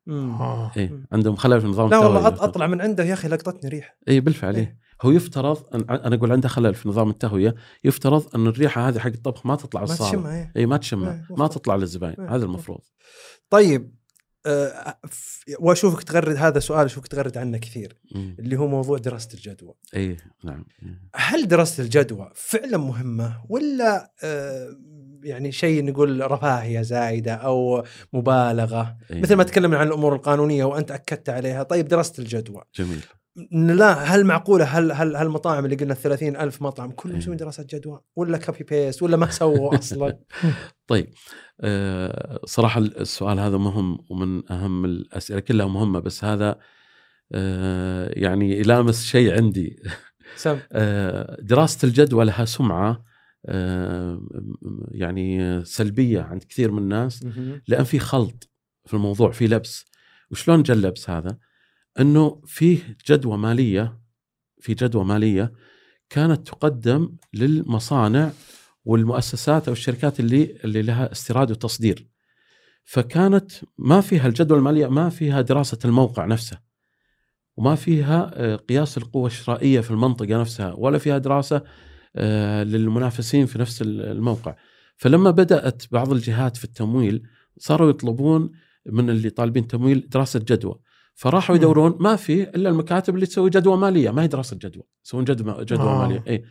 آه. اي مم. عندهم خلل في نظام لا التهويه والله أط- اطلع من عنده يا اخي لقطتني ريحه اي بالفعل إيه. إيه. هو يفترض أن- انا اقول عنده خلل في نظام التهويه يفترض ان الريحه هذه حق الطبخ ما تطلع ما الصاله تشمها إيه. اي ما إيه، تشمها ما مفروض. تطلع للزباين إيه، هذا المفروض طيب آه، ف- واشوفك تغرد هذا سؤال اشوفك تغرد عنه كثير مم. اللي هو موضوع دراسه الجدوى اي نعم هل دراسه الجدوى فعلا مهمه ولا آه، يعني شيء نقول رفاهيه زايده او مبالغه إيه. مثل ما تكلمنا عن الامور القانونيه وانت اكدت عليها طيب دراسه الجدوى جميل لا هل معقوله هل هل هل المطاعم اللي قلنا 30 ألف مطعم كلهم إيه. مسوين دراسه جدوى ولا كوبي بيست ولا ما سووا اصلا طيب آه صراحه السؤال هذا مهم ومن اهم الاسئله كلها مهمه بس هذا آه يعني يلامس شيء عندي سم آه دراسه الجدوى لها سمعه آه يعني سلبيه عند كثير من الناس لان في خلط في الموضوع في لبس وشلون جا اللبس هذا انه فيه جدوى ماليه في جدوى ماليه كانت تقدم للمصانع والمؤسسات او الشركات اللي اللي لها استيراد وتصدير فكانت ما فيها الجدوى الماليه ما فيها دراسه الموقع نفسه وما فيها آه، قياس القوه الشرائيه في المنطقه نفسها ولا فيها دراسه آه، للمنافسين في نفس الموقع فلما بدات بعض الجهات في التمويل صاروا يطلبون من اللي طالبين تمويل دراسه جدوى فراحوا مم. يدورون ما في الا المكاتب اللي تسوي جدوى ماليه ما هي دراسه جدوى يسوون جدوى جدوى آه. آه. ماليه اي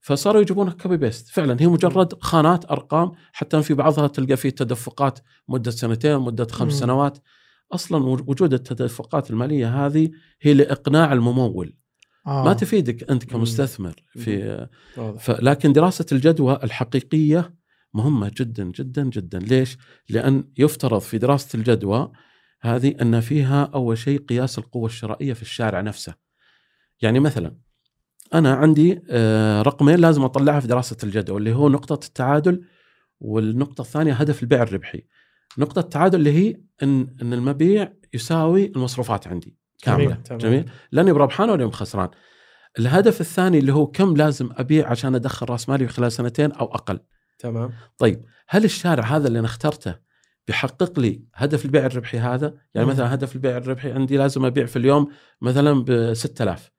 فصاروا يجيبونها كوبي بيست فعلا هي مجرد خانات ارقام حتى في بعضها تلقى فيه تدفقات مده سنتين مده خمس مم. سنوات اصلا وجود التدفقات الماليه هذه هي لاقناع الممول آه. ما تفيدك انت كمستثمر في واضح ف- لكن دراسه الجدوى الحقيقيه مهمه جدا جدا جدا ليش لان يفترض في دراسه الجدوى هذه ان فيها اول شيء قياس القوه الشرائيه في الشارع نفسه يعني مثلا انا عندي آه، رقمين لازم اطلعها في دراسه الجدوى اللي هو نقطه التعادل والنقطه الثانيه هدف البيع الربحي نقطه التعادل اللي هي ان ان المبيع يساوي المصروفات عندي كامله تمام، تمام. جميل لاني بربحان ولا بخسران الهدف الثاني اللي هو كم لازم ابيع عشان ادخل راس مالي خلال سنتين او اقل تمام طيب هل الشارع هذا اللي انا اخترته بيحقق لي هدف البيع الربحي هذا يعني مم. مثلا هدف البيع الربحي عندي لازم ابيع في اليوم مثلا ب 6000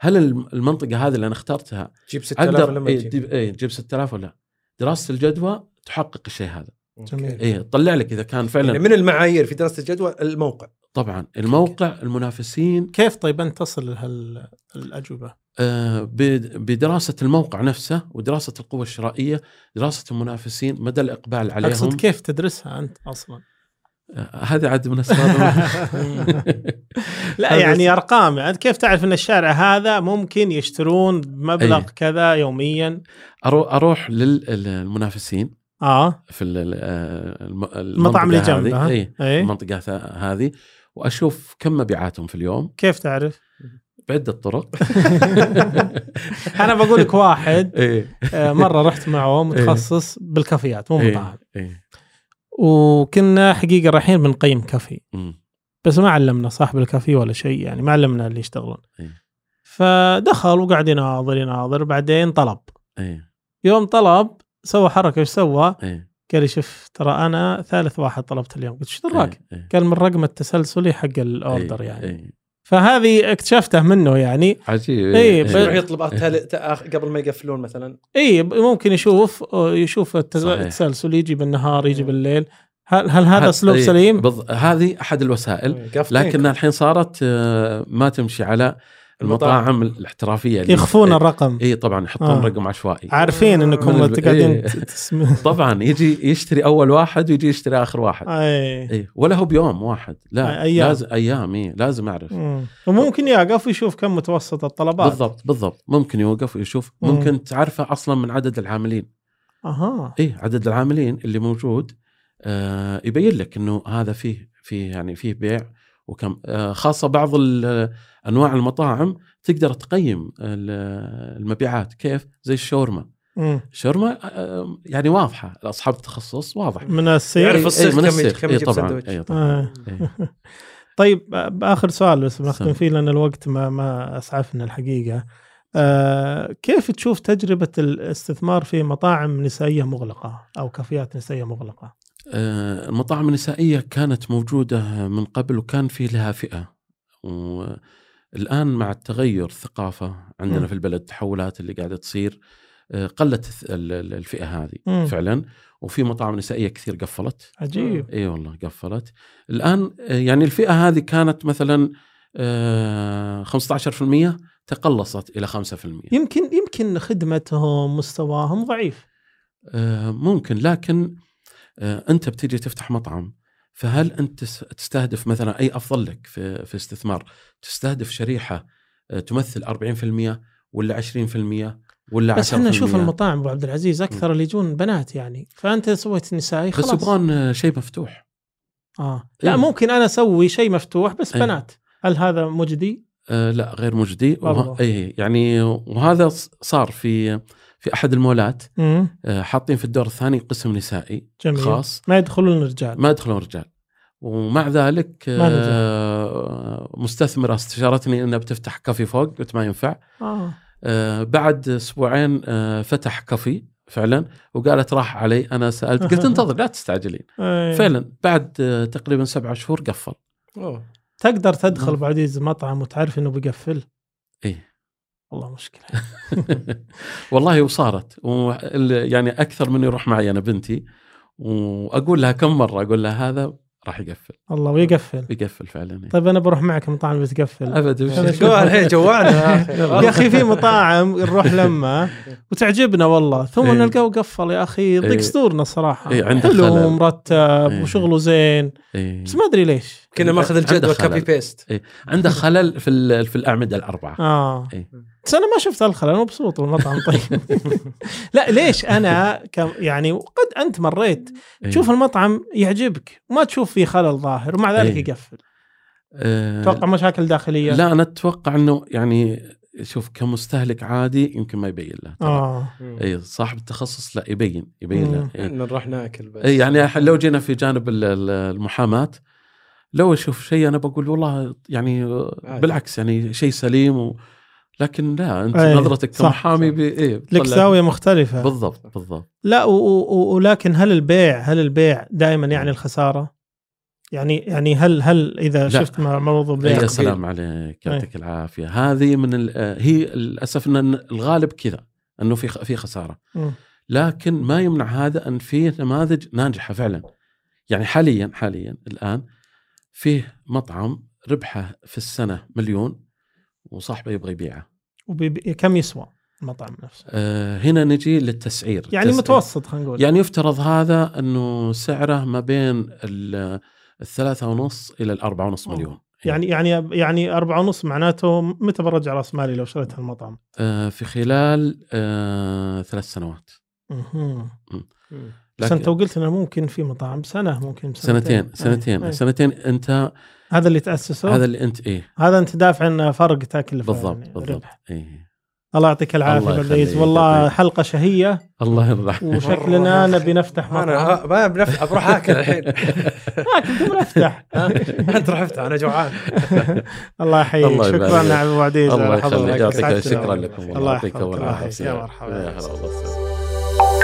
هل الم- المنطقه هذه اللي انا اخترتها جيب 6000 اقدر لما إيه، تجيب تجيب إيه، تجيب 6000 ولا لا؟ دراسه الجدوى تحقق الشيء هذا جميل. اي تطلع إيه، لك اذا كان يعني فعلا من المعايير في دراسه الجدوى الموقع طبعا الموقع المنافسين كيف طيب انت تصل لهالاجوبه؟ آه، بد- بدراسه الموقع نفسه ودراسه القوه الشرائيه دراسه المنافسين مدى الاقبال عليهم اقصد كيف تدرسها انت اصلا؟ آه، هذه عاد من اسباب لا هذا يعني ارقام يعني كيف تعرف ان الشارع هذا ممكن يشترون بمبلغ أي. كذا يوميا أرو- اروح للمنافسين اه في ال- ال- آه، الم- المطعم اللي المنطقة هذه. جنبه، ها؟ إيه. اي المنطقة ث- هذه واشوف كم مبيعاتهم في اليوم كيف تعرف؟ بعدة طرق انا بقول لك واحد ايه آه، مره رحت معه متخصص بالكافيات مو مطاعم ايه إيه. وكنا حقيقه رايحين بنقيم كافي أمم. بس ما علمنا صاحب الكافي ولا شيء يعني ما علمنا اللي يشتغلون إيه. فدخل وقعد يناظر يناظر بعدين طلب ايه يوم طلب سوى حركه ايش سوى؟ ايه قال لي شوف ترى انا ثالث واحد طلبت اليوم قلت ايش دراك؟ إيه. إيه. قال من رقم التسلسلي حق الاوردر إيه. يعني إيه. فهذه اكتشفته منه يعني عجيب إيه، بس- يروح يطلب تال- تا- قبل ما يقفلون مثلا اي إيه، ممكن يشوف يشوف التز- صحيح. إيه. التسلسل يجي بالنهار يجي مم. بالليل هل هل هذا هذا- اسلوب إيه، سليم؟ بض... هذه احد الوسائل إيه، قفلين. لكنها الحين صارت آه، ما تمشي على المطاعم الاحترافيه اللي- يخفون إيه، الرقم اي طبعا يحطون آه. رقم عشوائي عارفين من انكم الب- إيه. قاعدين ت- تسم- طبعا يجي يشتري اول واحد ويجي يشتري اخر واحد اي اي ولا هو بيوم واحد لا آه. أيام. أيام. لازم ايام إيه لازم اعرف مم. وممكن يقف ويشوف كم متوسط الطلبات بالضبط بالضبط ممكن يوقف ويشوف مم. ممكن تعرفه اصلا من عدد العاملين اها اي إيه، عدد العاملين اللي موجود آه يبين لك انه هذا فيه فيه يعني فيه بيع وكم آه خاصه بعض ال- انواع المطاعم تقدر تقيم ال- المبيعات كيف زي الشاورما مم. الشاورما آه يعني واضحه اصحاب التخصص واضح من يعرف السير إيه، الصيف من كم يجي- السيف. كم إيه، يجي طبعا بسندويتش. إيه، طبعا آه. إيه. طيب باخر سؤال بس بنختم سم. فيه لان الوقت ما ما اسعفنا الحقيقه آه كيف تشوف تجربه الاستثمار في مطاعم نسائيه مغلقه او كافيات نسائيه مغلقه؟ آه، المطاعم النسائية كانت موجودة من قبل وكان في لها فئة والآن مع التغير الثقافة مم. عندنا في البلد التحولات اللي قاعدة تصير آه، قلت الث- ال- ال- الفئة هذه مم. فعلا وفي مطاعم نسائية كثير قفلت عجيب اي والله قفلت الآن آه، يعني الفئة هذه كانت مثلا آه، 15% تقلصت إلى 5% يمكن يمكن خدمتهم مستواهم ضعيف آه، ممكن لكن آه، انت بتيجي تفتح مطعم فهل انت تس- تستهدف مثلا اي افضل لك في في استثمار تستهدف شريحه آه، تمثل 40% ولا 20% ولا 10% بس احنا نشوف المطاعم ابو عبد العزيز اكثر اللي يجون بنات يعني فانت سويت نسائي بس خلاص يبغون آه، شيء مفتوح اه لا إيه. ممكن انا اسوي شيء مفتوح بس إيه. بنات هل هذا مجدي؟ آه، لا غير مجدي وه- والله. اي يعني وهذا ص- صار في في احد المولات امم آه، حاطين في الدور الثاني قسم نسائي جميل خاص ما يدخلون الرجال ما يدخلون رجال ومع ذلك ما نجح. آه، مستثمره استشارتني انها بتفتح كافي فوق قلت ما ينفع اه آه، بعد اسبوعين آه، فتح كافي فعلا وقالت راح علي انا سالت قلت انتظر لا تستعجلين إيه. فعلا بعد آه، تقريبا سبعة شهور قفل أوه. تقدر تدخل نعم. ابو عزيز مطعم وتعرف انه بيقفل إيه. والله مشكله والله وصارت وال- يعني اكثر من يروح معي انا بنتي واقول لها كم مره اقول لها هذا راح يقفل الله ويقفل بيقفل فعلا إيه. طيب انا بروح معك مطاعم بتقفل ابدا وش- أنا شوف- جوع الحين جوعنا يا يا اخي اخي في مطاعم نروح لما وتعجبنا والله ثم إيه. نلقاه قفل يا اخي يضيق إيه. صدورنا صراحه إيه، عنده حلو خلل. ومرتب إيه. وشغله زين إيه. بس ما ادري ليش كنا ماخذ الجدول عنده خلل. كوبي بيست عنده خلل في ال- في الاعمده الاربعه اه إيه. بس انا ما شفت الخلل انا مبسوط والمطعم طيب لا ليش انا كم يعني وقد انت مريت إيه. تشوف المطعم يعجبك وما تشوف فيه خلل ظاهر ومع ذلك إيه. يقفل آه، اتوقع مشاكل داخليه لا انا اتوقع انه يعني شوف كمستهلك عادي يمكن ما يبين له طبعاً. اه اي صاحب التخصص لا يبين يبين مم. له إيه. إيه. نروح ناكل بس اي يعني الحين لو جينا في جانب ال- ال- المحاماه لو اشوف شيء انا بقول والله يعني آه، عادي. بالعكس يعني شيء سليم و... لكن لا انت إيه، نظرتك صح، كمحامي صح. ب... إيه لك بتطلع- زاويه مختلفه بالضبط بالضبط لا و- و- ولكن هل البيع هل البيع دائما يعني الخساره؟ يعني يعني هل هل اذا لا. شفت مع- موضوع بيع يا قليل؟ سلام عليك إيه. يعطيك العافيه هذه من ال- آه، هي للاسف ان الغالب كذا انه في خ- في خساره مم. لكن ما يمنع هذا ان في نماذج ناجحه فعلا يعني حاليا حاليا الان فيه مطعم ربحه في السنه مليون وصاحبه يبغى يبيعه وبيب- كم يسوى المطعم نفسه؟ آه، هنا نجي للتسعير يعني التسعير- متوسط خلينا نقول يعني يفترض هذا انه سعره ما بين ال- الثلاثة ونص إلى الأربعة ونص أوه. مليون يعني يعني يعني أربعة ونص معناته متى برجع راس مالي لو شريت هالمطعم؟ آه، في خلال آه، ثلاث سنوات اها. مم. مم. بس لكن انت قلت انه ممكن في مطاعم سنه ممكن سنتين سنتين, سنتين أي. أي. سنتين انت هذا اللي تاسسه هذا هذا, اللي انت ايه هذا انت دافع انه فرق تكلفه بالضبط يعني بالضبط ربح. ايه الله يعطيك العافيه الله عبد العزيز يخليك. طيب. والله حلقه شهيه الله يرضى وشكلنا نبي نفتح مطعم انا ما بنف- بروح اكل الحين ما كنت بنفتح انت رحت انا جوعان الله يحييك الله شكرا يبارك. عبد العزيز الله على حضورك. يخليك يعطيك أسعدتنا شكرا والله. لكم الله والله يعطيك يحفظك. الله يحييك. والعافيه يا مرحبا. يا هلا والله